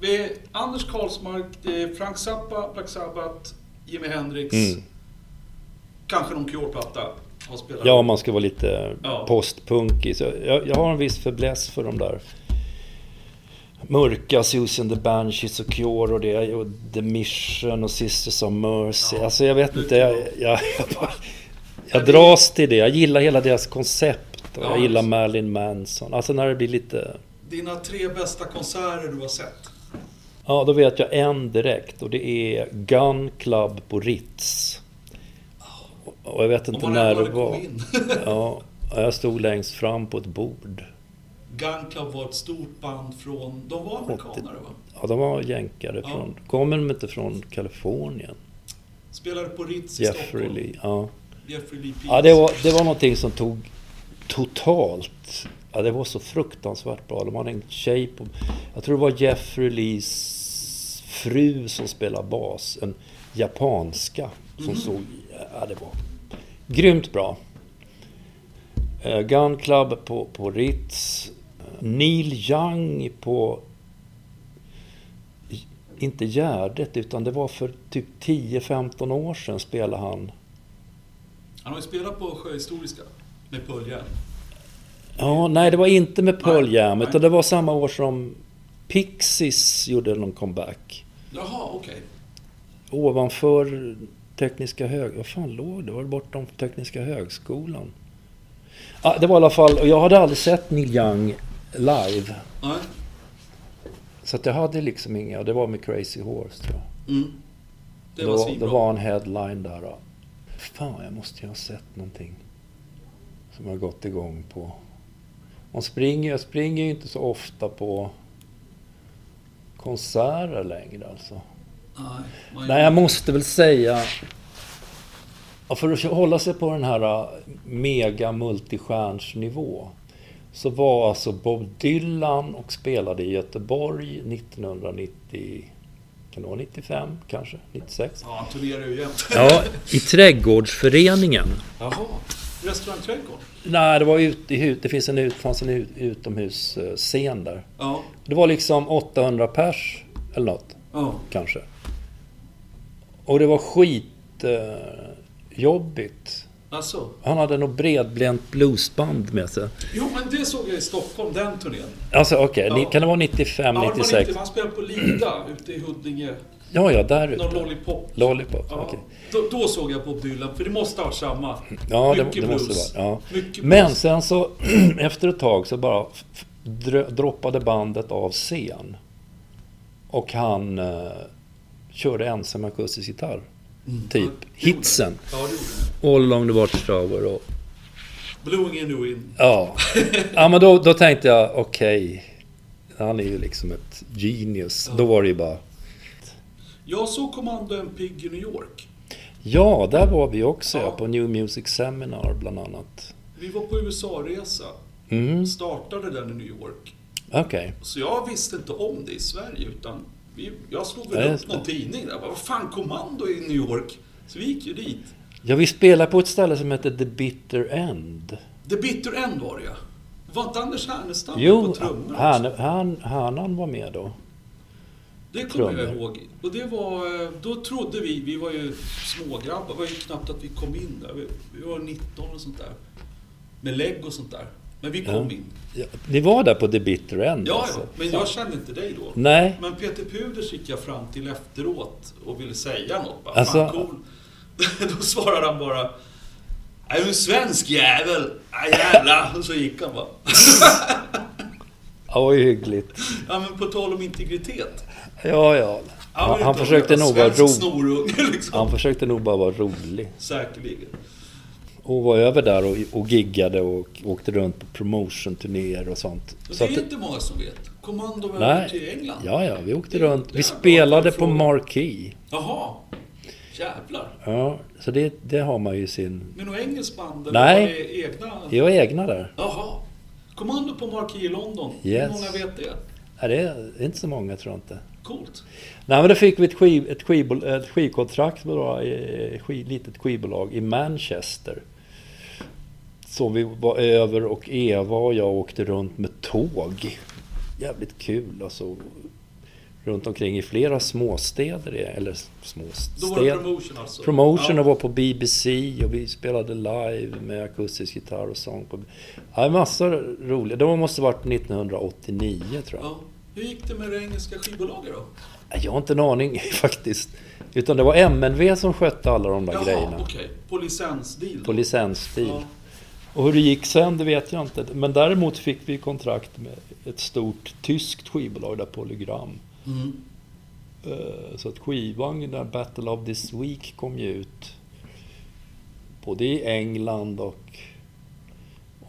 Speaker 1: Vi är Anders Karlsmark, det är Frank Zappa, Black Sabbath, Jimi Hendrix.
Speaker 2: Mm.
Speaker 1: Kanske någon Cure-platta har spelat.
Speaker 2: Ja, om man ska vara lite
Speaker 1: Ja.
Speaker 2: postpunkig. Så jag, jag har en viss fäbless för de där mörka Susan the Banshees och Cure och det och The Mission och Sisters of Mercy.
Speaker 1: Ja.
Speaker 2: Alltså jag vet inte, jag, jag, jag, bara- jag
Speaker 1: det-
Speaker 2: dras till det. Jag gillar hela deras koncept och
Speaker 1: Ja. alltså.
Speaker 2: jag gillar Marilyn Manson. Alltså när det blir lite...
Speaker 1: Dina tre bästa konserter du har sett.
Speaker 2: Ja, då vet jag en direkt och det är Gun Club på Ritz. Och jag vet inte
Speaker 1: man
Speaker 2: när
Speaker 1: ändå
Speaker 2: det
Speaker 1: hade kommit
Speaker 2: var.
Speaker 1: in.
Speaker 2: Ja, och jag stod längst fram på ett bord.
Speaker 1: Gun Club var ett stort band från... De var amerikanare va?
Speaker 2: Ja, de var jänkare
Speaker 1: Ja.
Speaker 2: från... Kommer de inte från Kalifornien?
Speaker 1: Spelade på Ritz i
Speaker 2: Jeffrey
Speaker 1: Stockholm.
Speaker 2: Lee. Ja.
Speaker 1: Jeffrey Lee Pierce.
Speaker 2: Ja, det var, det var någonting som tog totalt... Ja, det var så fruktansvärt bra. De hade en tjej på... Jag tror det var Jeffrey Lees fru som spelade bas. En japanska som såg... Ja, det var grymt bra. Eh, Gun Club på, på Ritz. Neil Young på... Inte Gärdet, utan det var för typ 10-15 år sedan spelade han
Speaker 1: Han har ju spelat på Sjöhistoriska med Pöljan.
Speaker 2: Ja, nej det var inte med Pearl
Speaker 1: Nej,
Speaker 2: Jam,
Speaker 1: nej.
Speaker 2: utan det var samma år som Pixies gjorde någon comeback.
Speaker 1: Jaha, okej.
Speaker 2: Ovanför Tekniska hög... Vad fan låg det? Var det bortom Tekniska högskolan? Ja, det var i alla fall... Och jag hade aldrig sett Neil Young live.
Speaker 1: Nej.
Speaker 2: Så att jag hade liksom inga... och Det var med Crazy Horse tror jag.
Speaker 1: Mm. Det
Speaker 2: då,
Speaker 1: var
Speaker 2: då
Speaker 1: svinbra.
Speaker 2: var en headline där. Då. Fan, jag måste ju ha sett någonting som jag gått igång på. Man springer, jag springer ju inte så ofta på konserter längre alltså.
Speaker 1: Nej, man
Speaker 2: Nej, jag måste väl säga... ja, För att hålla sig på den här äh, mega multistjärnsnivå så var alltså Bob Dylan och spelade i Göteborg 1990... Kan det vara 95 kanske? 96?
Speaker 1: Ja, han turnerar ju jämt.
Speaker 2: Ja, i trädgårdsföreningen.
Speaker 1: Jaha. Restaurangträdgård?
Speaker 2: Nej, det var ute i hus. Det finns en, ut, fanns en ut, utomhusscen där.
Speaker 1: Ja.
Speaker 2: Det var liksom 800 pers eller något,
Speaker 1: Ja.
Speaker 2: kanske. Och det var skit eh, jobbigt.
Speaker 1: Alltså.
Speaker 2: Han hade nog bredbent bluesband med sig.
Speaker 1: Jo, men det såg jag i Stockholm, den turnén.
Speaker 2: Alltså okej, ni-
Speaker 1: Ja.
Speaker 2: kan det vara 95,
Speaker 1: Ja, det var
Speaker 2: 96?
Speaker 1: riktigt. Han spelade på Lida ute i Huddinge.
Speaker 2: Ja, ja, där
Speaker 1: Någon
Speaker 2: ute.
Speaker 1: Lollipop.
Speaker 2: Lollipop,
Speaker 1: Ja,
Speaker 2: okej.
Speaker 1: då, då såg jag Bob Dylan, för det måste ha varit samma.
Speaker 2: Ja, det,
Speaker 1: Mycket
Speaker 2: det måste
Speaker 1: blues.
Speaker 2: det vara. Ja.
Speaker 1: Mycket
Speaker 2: Men
Speaker 1: blues.
Speaker 2: sen så, efter ett tag så bara f- f- drö- droppade bandet av scen. Och han eh, körde ensam akustisk gitarr. Typ
Speaker 1: Ja, det gjorde
Speaker 2: hitsen.
Speaker 1: han. Ja, det gjorde han.
Speaker 2: All along the watchtower och...
Speaker 1: Blowing in the wind.
Speaker 2: Ja. ja men då, då tänkte jag, okej. Han är ju liksom ett genius. Då var det ju bara...
Speaker 1: Jag såg Commando en Pig i New York.
Speaker 2: Ja, där var vi också
Speaker 1: Ja.
Speaker 2: ja. på New Music Seminar bland annat.
Speaker 1: Vi var på USA-resa.
Speaker 2: Mm,
Speaker 1: Startade den i New York.
Speaker 2: okej.
Speaker 1: Så jag visste inte om det i Sverige utan vi, jag slog
Speaker 2: Ja,
Speaker 1: väl upp
Speaker 2: just det.
Speaker 1: någon tidning där. Bara, Vad fan, Commando i New York? Så vi gick ju dit.
Speaker 2: Ja, vi spelade på ett ställe som heter The Bitter End.
Speaker 1: The Bitter End var det ja. Var inte Anders Härnestam på
Speaker 2: Jo,
Speaker 1: trummor?
Speaker 2: han, han, Härnan var med då.
Speaker 1: Det kommer jag
Speaker 2: trummor.
Speaker 1: ihåg. Och det var, eh, då trodde vi, vi var ju smågrabbar, det var ju knappt att vi kom in där. Vi, vi var 19 och sånt där. Med lägg och sånt där. Men vi kom
Speaker 2: Ja.
Speaker 1: in.
Speaker 2: Ja, ni var där på The Bitter End
Speaker 1: Ja,
Speaker 2: alltså?
Speaker 1: ja, men jag kände inte dig då.
Speaker 2: Nej,
Speaker 1: Men Peter Puders gick jag fram till efteråt och ville säga något. Bara,
Speaker 2: Alltså-
Speaker 1: Fan, cool. Då svarade han bara Är du en svensk jävel? Ah, jävla. Och så gick han bara.
Speaker 2: ja, vad hyggligt.
Speaker 1: Ja, men på tal om integritet.
Speaker 2: Ja, ja.
Speaker 1: Ja, men
Speaker 2: Han, han
Speaker 1: inte
Speaker 2: försökte
Speaker 1: en
Speaker 2: nog vara
Speaker 1: Svensk
Speaker 2: rolig.
Speaker 1: snorunge liksom.
Speaker 2: Han försökte nog bara vara rolig.
Speaker 1: Säkerligen.
Speaker 2: Och var över där och, och giggade och åkte runt på promotionturnéer och sånt.
Speaker 1: Och
Speaker 2: Så
Speaker 1: det
Speaker 2: att,
Speaker 1: är inte många som vet. Kommando var över till
Speaker 2: nej.
Speaker 1: England.
Speaker 2: Ja, ja, vi åkte
Speaker 1: Det- det
Speaker 2: runt. Vi
Speaker 1: är en bra
Speaker 2: spelade på
Speaker 1: fråga.
Speaker 2: Marquee.
Speaker 1: Jaha. Jävlar.
Speaker 2: Ja, så det, det har man ju sin...
Speaker 1: Men något engelskt band? eller
Speaker 2: Nej.
Speaker 1: var det Egna?
Speaker 2: Jag är egna där.
Speaker 1: Jaha. Kommando på Marquee i London. Hur
Speaker 2: Yes.
Speaker 1: många vet det?
Speaker 2: Nej, det är inte så många tror jag inte.
Speaker 1: Coolt.
Speaker 2: Nej, men då fick vi ett, skiv, ett, skivbol, ett skivkontrakt med några, eh, skiv, litet skivbolag i Manchester. Så vi var över och Eva och jag åkte runt med tåg. Jävligt kul alltså. Runt omkring i flera småstäder, i- eller
Speaker 1: Då var det
Speaker 2: småstäder.
Speaker 1: promotion alltså?
Speaker 2: Promotion
Speaker 1: ja.
Speaker 2: och var på BBC och vi spelade live med akustisk gitarr och sång. På... Ja, massor roliga. Det måste varit 1989 tror jag.
Speaker 1: ja. Hur gick det med det engelska skivbolaget då?
Speaker 2: Nej, Jag har inte en aning faktiskt. Utan det var MNV som skötte alla de där grejerna.
Speaker 1: okej. På licensdeal? då?
Speaker 2: På licenstid.
Speaker 1: Ja.
Speaker 2: Och hur det gick sen, det vet jag inte. Men däremot fick vi kontrakt med ett stort tyskt skivbolag, där Polygram.
Speaker 1: Mm.
Speaker 2: Eh, Så att skivan, den där Battle of this Week, kom ju ut både i England och,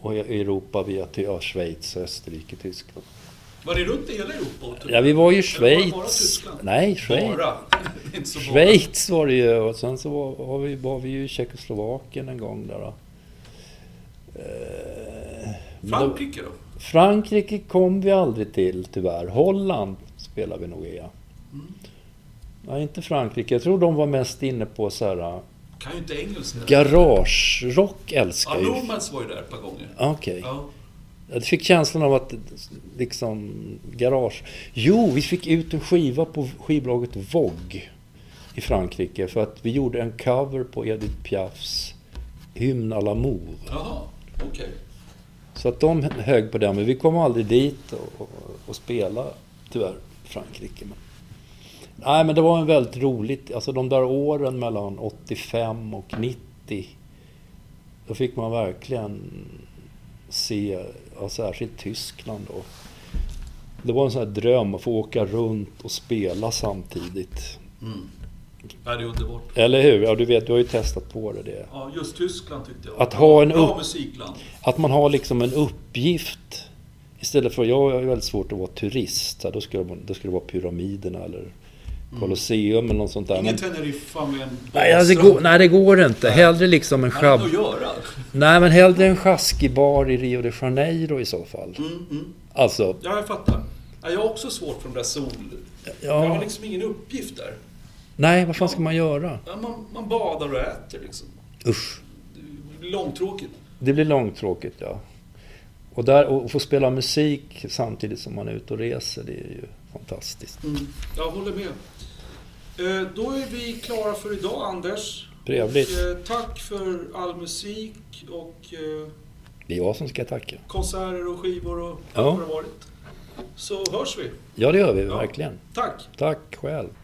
Speaker 2: och i Europa via till ja, Schweiz, Österrike, Tyskland.
Speaker 1: Var det runt i hela Europa? och turnerade?
Speaker 2: Ja, vi var ju i
Speaker 1: Eller var det bara
Speaker 2: Schweiz.
Speaker 1: Tyskland?
Speaker 2: Nej, Schweiz.
Speaker 1: Bara? Det är inte så bara.
Speaker 2: Schweiz var det ju och sen så var, har vi, var vi ju i Tjeckoslovakien en gång där då. Eh, men då-
Speaker 1: Frankrike då?
Speaker 2: Frankrike kom vi aldrig till tyvärr. Holland spelade vi nog i. ja.
Speaker 1: Mm.
Speaker 2: Nej, inte Frankrike. Jag tror de var mest inne på så här... eh,
Speaker 1: Kan ju inte engelska.
Speaker 2: Garagerock
Speaker 1: Ja,
Speaker 2: älskar ju...
Speaker 1: Nomads var ju där ett par gånger.
Speaker 2: Okej.
Speaker 1: Ja.
Speaker 2: Jag fick känslan av att liksom garage... Jo, vi fick ut en skiva på skivbolaget Vogue i Frankrike för att vi gjorde en cover på Edith Piafs Hymn à l'amour.
Speaker 1: Jaha, okej.
Speaker 2: Så att de högg på den, men vi kom aldrig dit och, och, och spela tyvärr, Frankrike. Men. Nej, men det var en väldigt roligt, alltså de där åren mellan 85 och 90, då fick man verkligen se, ja, särskilt Tyskland då. Det var en sån här dröm att få åka runt och spela samtidigt.
Speaker 1: Mm. Ja, det är underbart.
Speaker 2: Eller hur? Ja, du vet, du har ju testat på det. det.
Speaker 1: Ja, just Tyskland tyckte jag.
Speaker 2: Att ha en
Speaker 1: Bra
Speaker 2: upp-
Speaker 1: musikland.
Speaker 2: Att man har liksom en uppgift istället för, jag är väldigt svårt att vara turist, så här, då skulle, man, då skulle det vara pyramiderna eller Colosseum eller något sånt där.
Speaker 1: Ingen
Speaker 2: Men,
Speaker 1: Teneriffa med en
Speaker 2: nej, alltså, det går, nej, det går inte. Hellre liksom en
Speaker 1: Han
Speaker 2: schabb...
Speaker 1: att göra.
Speaker 2: Nej, men hellre en sjaskig bar i Rio de Janeiro i så fall.
Speaker 1: Mm, mm.
Speaker 2: Alltså,
Speaker 1: Ja, jag fattar. Ja, jag har också svårt för de där sol... Jag har
Speaker 2: ja...
Speaker 1: liksom ingen uppgift där.
Speaker 2: Nej, vad fan ska man göra?
Speaker 1: Ja, man, man badar och äter liksom.
Speaker 2: Usch.
Speaker 1: Det blir Långtråkigt.
Speaker 2: Det blir långtråkigt, ja. Och, där, och få spela musik samtidigt som man är ute och reser, det är ju fantastiskt.
Speaker 1: Mm. Jag håller med. Eh, Då är vi klara för idag, Anders.
Speaker 2: Trevligt.
Speaker 1: Och, eh, tack för all musik och eh,
Speaker 2: Det är jag som ska tacka.
Speaker 1: konserter och skivor och
Speaker 2: Ja.
Speaker 1: allt vad det har varit. Så hörs vi.
Speaker 2: Ja, det gör vi
Speaker 1: Ja.
Speaker 2: verkligen.
Speaker 1: Tack!
Speaker 2: Tack själv.